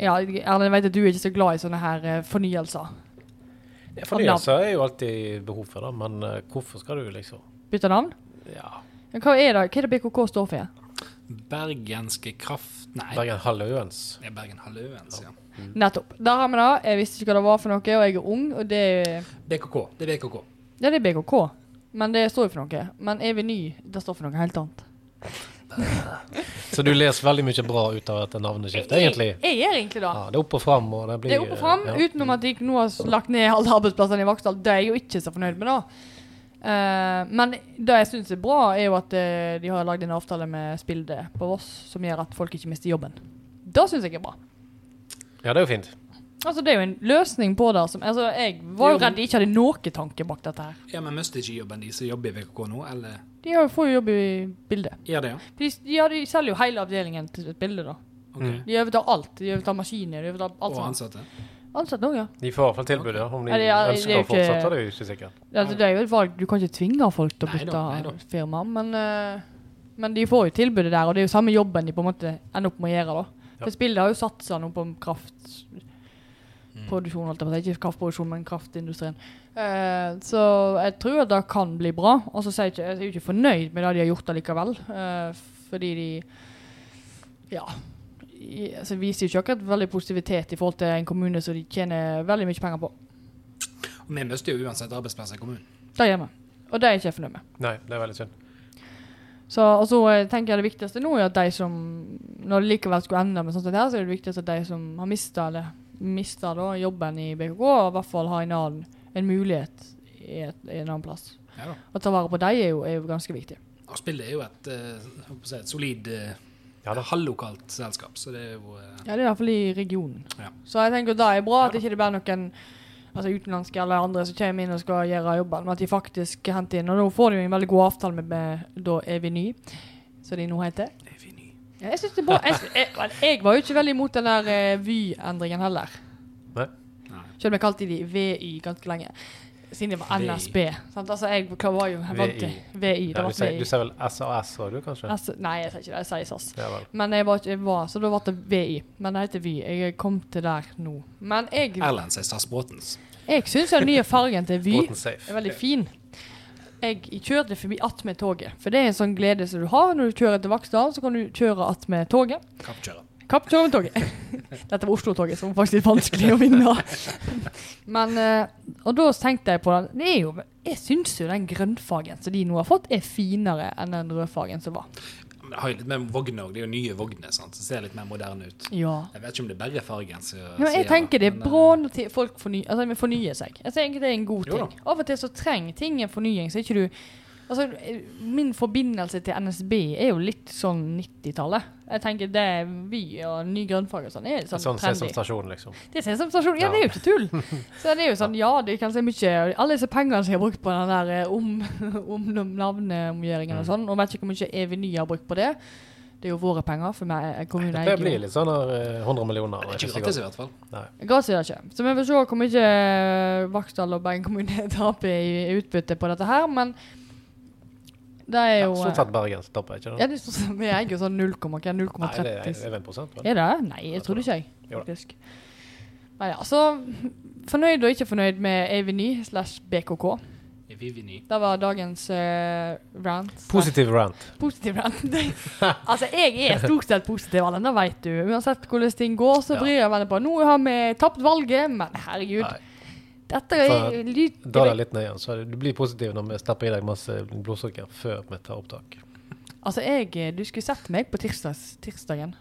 A: Ja, Erlend, jeg vet at du er ikke så glad i sånne her eh, fornyelser.
C: Ja, Fornyelse er jo alltid behov for, da. Men eh, hvorfor skal du liksom
A: Bytte navn?
C: Ja.
A: Men Hva er det, hva er det BKK står for? igjen?
B: Bergenske Kraft Nei,
C: Bergen Hallauens.
B: det er Bergen Halløens, ja.
A: Nettopp. Der har vi det. Jeg visste ikke hva det var for noe, og jeg er ung, og det er
B: BKK. Det er BKK.
A: Ja, det er BKK, men det står jo for noe. Men Evig ny, det står for noe helt annet.
C: Så du leser veldig mye bra ut av dette navneskiftet, egentlig?
A: Jeg, jeg gjør egentlig det.
C: Ja, det er opp og fram, og det blir
A: Det er opp og fram,
C: eh, ja.
A: utenom at de nå har lagt ned alle arbeidsplassene i Vaksdal. Det er jeg jo ikke så fornøyd med, da. Eh, men det jeg syns er bra, er jo at eh, de har lagd en avtale med Spilde på Voss som gjør at folk ikke mister jobben. Det syns jeg er bra.
C: ja, det er jo fint.
A: Altså, det er jo en løsning på det. Som, altså, jeg var jo redd de ikke hadde noen tanke bak dette her.
B: Ja, men mister ikke jobben de som jobber i BKK nå, eller
A: De har jo får jo jobb i Bilde.
B: gjør det, ja?
A: De, ja, de selger jo hele avdelingen til et bilde, da.
B: Ok.
A: De overtar alt. De overtar maskiner, de overtar alt
B: Og
A: sånt.
B: ansatte.
A: Ansatt nå, ja.
C: De får i hvert fall tilbudet. ja. Om de
A: Ja, det er- det er jo
C: ønsker å fortsette,
A: ikke-
C: det er jo ikke sikkert.
A: Altså, det er jo et valg. Du kan ikke tvinge folk til å
B: Nei da,
A: bytte
B: nei da.
A: firma, men, eh, men de får jo tilbudet der, og det er jo samme jobben de på en måte ender opp med å gjøre. da.
C: Ja.
A: For Spillet har jo satsa nå på kraftproduksjon, holdt jeg på å si. Ikke kraftproduksjon, men kraftindustrien. Eh, så jeg tror at det kan bli bra. Og så sier jeg ikke, jeg er jo ikke fornøyd med det de har gjort allikevel, eh, fordi de Ja. i- Altså, viser jo ikke akkurat veldig positivitet i forhold til en kommune som de tjener veldig mye penger på.
B: Og vi mister jo uansett arbeidsplasser i kommunen.
A: Det gjør vi. Og det er jeg ikke fornøyd med.
C: Nei, det er veldig synd.
A: Så, og så eh, tenker jeg det viktigste nå er at de som Når det likevel skulle ende med sånt som det her, så er det viktigste at de som har mista eller mista da jobben i BKK, i hvert fall har en annen en mulighet i, et, i en annen plass.
B: Ja da.
A: Å ta vare på dem er, jo- er jo ganske viktig.
B: Og spillet er jo et, eh, jeg håper å si, et solid eh,
C: Ja da.
B: halvlokalt selskap, så det er jo eh,
A: Ja, det er i hvert fall i regionen.
B: Ja.
A: Så jeg tenker at det er bra at det ikke bare er noen altså utenlandske eller andre som kommer inn og skal gjøre jobben, men at de faktisk henter inn. Og nå får de jo en veldig god avtale med, med da Evy Ny, som de nå heter.
B: det er fint.
A: Ja, Jeg synes det er bra. Jeg, jeg, jeg var jo ikke veldig imot den der eh, Vy-endringen heller.
C: Nei.
B: Nei.
A: Selv om jeg kalte de VY ganske lenge. Siden det var
B: VI.
A: NSB. Sant? Altså, jeg var jo vant til VI. Det
C: Ja, du,
A: var
C: sier, du
A: VI.
C: sier vel SAS òg, du, kanskje?
A: Altså, nei, jeg sier ikke det. Jeg sier SAS.
C: Ja vel.
A: Men jeg var ikke jeg var, Så da ble det VI. Men det heter Vy. Jeg kom til der nå. Men jeg,
B: Erlend sier SAS Bråtens.
A: jeg syns den nye fargen til Vy
C: Båten safe.
A: er veldig fin. Jeg kjørte forbi attmed toget. For det er en sånn glede som du har når du kjører til Vaksdal. Så kan du kjøre attmed toget.
B: Kappkjører.
A: Kapp Kjørventoget. [laughs] Dette var Oslo-toget, som var faktisk litt vanskelig å vinne. Men, eh, og da tenkte jeg på den. Det er jo, jeg syns jo den grønnfargen som de nå har fått, er finere enn den rødfargen som var.
B: Men det har jo litt mer vogner òg. Det er jo nye vogner, sant. Så det ser litt mer moderne ut.
A: Ja.
B: Jeg vet ikke om det er bare fargen som
A: Men
B: som gjør
A: jeg tenker det er
B: men, eh,
A: bra når ti- folk fornyer, altså, men fornyer seg. Jeg tenker det er en god
B: Jo da.
A: ting. Av og til så trenger ting en fornying, så ikke du Altså, min forbindelse til NSB er jo litt sånn 90-tallet. Jeg tenker det Vy og ny grønnfarge og sånn er litt sånn,
C: Sånn
A: trendy.
C: Sesam stasjon, liksom.
A: Det er sensasjon. Ja,
C: Ja.
A: det er jo ikke
C: [laughs]
A: tull. Så det er jo sånn, ja, det kan se mye Alle disse pengene som jeg har brukt på den der eh, om, [laughs] om om navneomgjøringen
C: Mm.
A: og sånn, og vet ikke hvor mye Eveny har brukt på det. Det er jo våre penger, for meg kommunen
C: Det blir litt sånn her eh, 100 millioner.
B: Det er ikke
C: neste gang.
B: gratis, i hvert fall.
A: Gass er det ikke. Så vi får se hvor mye eh, Vaksdal og Bergen kommune [laughs] taper i utbytte på dette her, men det er
C: Ja,
A: jo eh,
C: Stort sett Bergen som tapper, ikke
A: Ja,
C: det?
A: det er stort sett- vi eier jo sånn 0,30
C: Nei, det er- er det 1 vel?
A: Er det? Nei, jeg trodde ikke jeg.
C: Jo da.
A: Faktisk. Nei, altså Fornøyd og ikke fornøyd med Aveny slash BKK.
B: i Vivini.
A: Det var dagens eh, rant.
C: Positiv rant.
A: Positiv
C: [laughs]
A: rant. Det- altså, jeg er stort sett positiv, Allen, det vet du. Uansett hvordan ting går, så
C: Ja.
A: bryr jeg meg ikke på. Nå har vi tapt valget, men herregud.
C: Nei.
A: Dette er
C: Så,
A: lyd...
C: Da er det litt nøye, så du blir positiv når vi stapper i deg masse blodsukker før vi tar opptak.
A: Altså, jeg Du skulle sett meg på tirsdags, tirsdagen.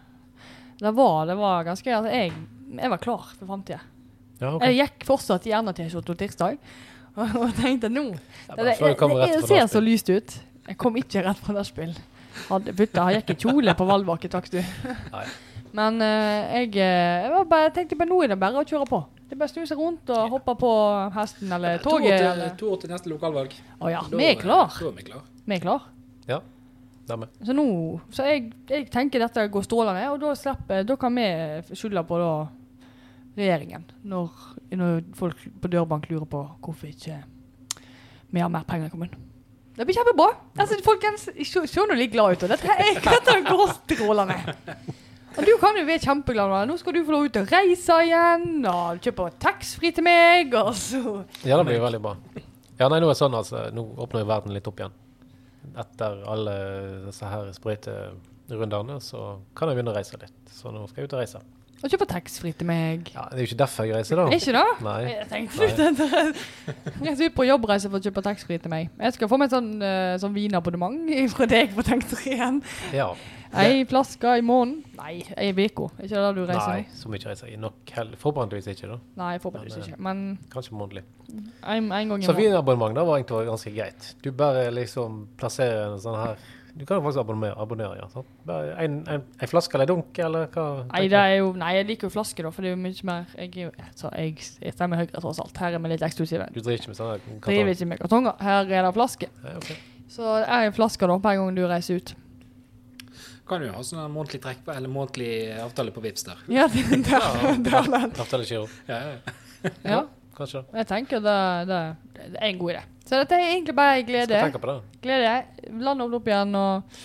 A: Det var, det var ganske Altså, jeg, jeg var klar for framtida.
C: Ja, ok.
A: Jeg gikk fortsatt i RNA-T-skjorte tirsdag [laughs] og, og tenkte nå
C: Ja,
A: Det,
C: bare
A: det,
C: før du kommer rett
A: det
C: fra
A: ser
C: nachspiel.
A: så lyst ut. Jeg kom ikke rett fra nachspiel. Hadde- Putta han gikk i kjole på valgvake, takk du.
C: Nei.
A: Men eh, jeg, eh, jeg var bare, tenkte bare nå er det bare å kjøre på. Det er bare å snu seg rundt og hoppe på hesten eller
B: To år
A: toget.
B: til-
A: eller-
B: To år til neste lokalvalg.
A: Å ja,
B: Da-
A: vi er klar.
B: Da er vi klar.
A: Vi er klar.
C: Ja. Stemmer.
A: Så nå, så jeg, jeg tenker dette går strålende, og da, slipper, da kan vi skylde på da regjeringen. Når, når folk på dørbank lurer på hvorfor ikke vi har mer penger i kommunen. Det blir kjempebra. Altså, folkens, se se nå litt glad ut. Og dette, her er- dette går strålende. Og du kan jo være kjempeglad nå. Nå skal du få lov ut og reise igjen, og kjøpe taxfree til meg, og så
C: Ja, det blir veldig bra. Ja, nei, nå er det sånn, altså. Nå åpner jo verden litt opp igjen. Etter alle disse her sprøyterundene, så kan jeg begynne å reise litt. Så nå skal jeg ut og reise.
A: Og kjøpe taxfree til meg.
C: Ja, Det er jo ikke derfor jeg reiser,
A: Er
C: da.
A: ikke det?
C: Nei.
A: Jeg tenkte litt Jeg skal ut på jobbreise for å kjøpe taxfree til meg. Jeg skal få meg en sånn, eh, sånn vinabonnement [laughs] fra deg på taxfree-en.
C: Ja.
A: Ei flaske i måneden. Nei, ei uke. Er ikke det du reiser
C: Nei,
A: med?
C: så mye reiser jeg nok heller. Forhåpentligvis ikke, da.
A: Nei, forhåpentligvis ikke. Men
C: Kanskje månedlig.
A: en, en gang i
C: Så
A: måneden.
C: vinabonnement da var egentlig ganske greit. Du bare liksom plasserer en sånn her Du kan jo faktisk abonnere. abonnere ja, sant? Bare en, en, en flaske eller dunk, eller hva?
A: Nei, det er jo, nei, jeg liker jo flaske, da, for det er jo mye mer Jeg, er jo, så jeg, jeg stemmer Høyre tross alt. Her er vi litt eksklusive.
C: Du driver ikke med sånne kartonger?
A: Driver ikke med kartonger. Her er det flaske.
C: Nei, ok.
A: Så det er en flaske da, hver gang du reiser ut.
B: Kan jo ha sånn en månedlig trekk eller månedlig avtale på Vipps der.
A: Ja, det- der, der, der.
C: Avtalegiro.
B: Ja, ja. [laughs]
A: Ja.
C: Kanskje.
A: Jeg tenker det, det, det er en god idé. Så dette er egentlig bare glede.
C: Skal tenke på det.
A: Glede. Land opp igjen og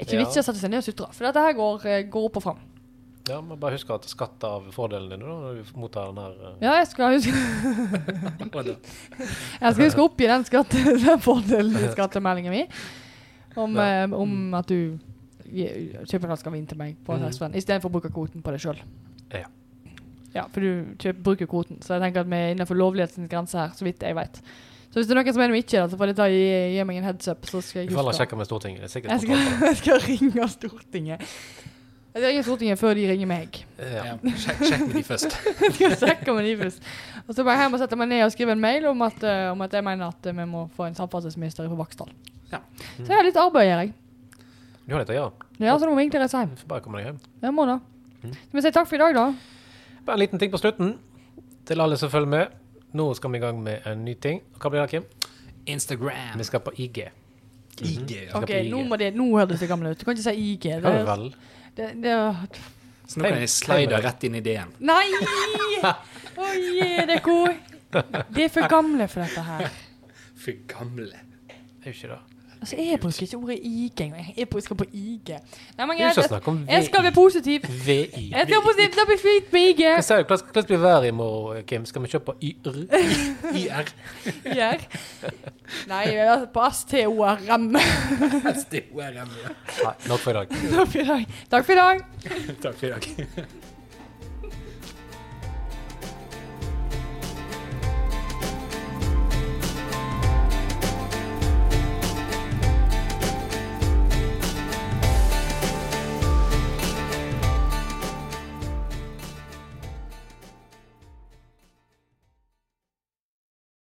A: Ikke
C: Ja.
A: vits i å sette seg ned og sutre, for dette her går, eh, går opp og fram.
C: Ja, men bare husk at skatt av fordelene dine da, når du mottar den her eh,
A: Ja, jeg skal huske,
B: Og da-
A: jeg skal huske å oppgi den, skatte, [laughs] den fordelen i skattemeldingen min om, eh,
C: Mm.
A: om at du gi- kjøper en flaske vin til meg på
C: Mhm.
A: Høstvenn istedenfor å bruke kvoten på deg sjøl.
C: Ja.
A: Ja, for du kjøper, bruker kvoten, så jeg tenker at vi er innenfor lovlighetens grense her, så vidt jeg vet. Så hvis det er noen som mener vi ikke er det, så får de ta, gi, gi meg en heads up, så skal jeg
C: Vi får heller
A: huske.
C: sjekke med Stortinget. Det er sikkert
A: Jeg skal, [laughs]
C: kontroll
A: jeg skal ringe Stortinget. Jeg skal ringe Stortinget før de ringer meg. [laughs]
C: på det. Ja.
B: ja. Sjekk, sjekk med de først.
A: Jeg skal sjekke med de først. Og så bare hjem og sette meg ned og skrive en mail om at, eh, om at jeg mener at eh, vi må få en samferdselsminister fra Vaksdal.
B: Ja.
A: Så jeg har litt arbeid å gjøre, jeg.
C: Du har litt å gjøre.
A: Ja, så nå må vi egentlig reise hjem.
C: Du får bare komme deg hjem.
A: Jeg må da. Skal vi si takk for i dag, da?
C: Bare en liten ting på slutten til alle som følger med. Nå skal vi i gang med en ny ting. Hva blir det, Kim?
B: Instagram.
C: Vi skal på IG.
B: IG. ja.
C: skal
A: OK,
C: på IG.
A: nå, må det, nå høres det gammel ut. Du kan ikke si IG.
C: Kan
A: Det,
C: du vel?
A: det, det,
B: Så nå kan jeg slide rett inn i DM.
A: nei! Oi, det er god. Det er for gamle for dette her.
B: For gamle.
C: Det er jo ikke det.
A: Altså, jeg bruker ikke ordet IG engang. Jeg bruker- skal på IG. Nei, men
C: Det er jo
A: greit,
C: ikke snakk om
A: Jeg skal være positiv.
C: VI.
A: Jeg skal være positiv, det blir fint med IG.
C: Hva sier du? Hvordan hvordan blir været i morgen, Kim? Skal vi kjøpe på YR?
B: IR.
A: Gjør. Nei, jeg er på [laughs] STORM.
B: That's the where I'm
C: Nei, nok for i dag.
A: Takk for i dag. Takk for i dag.
B: Takk for i dag.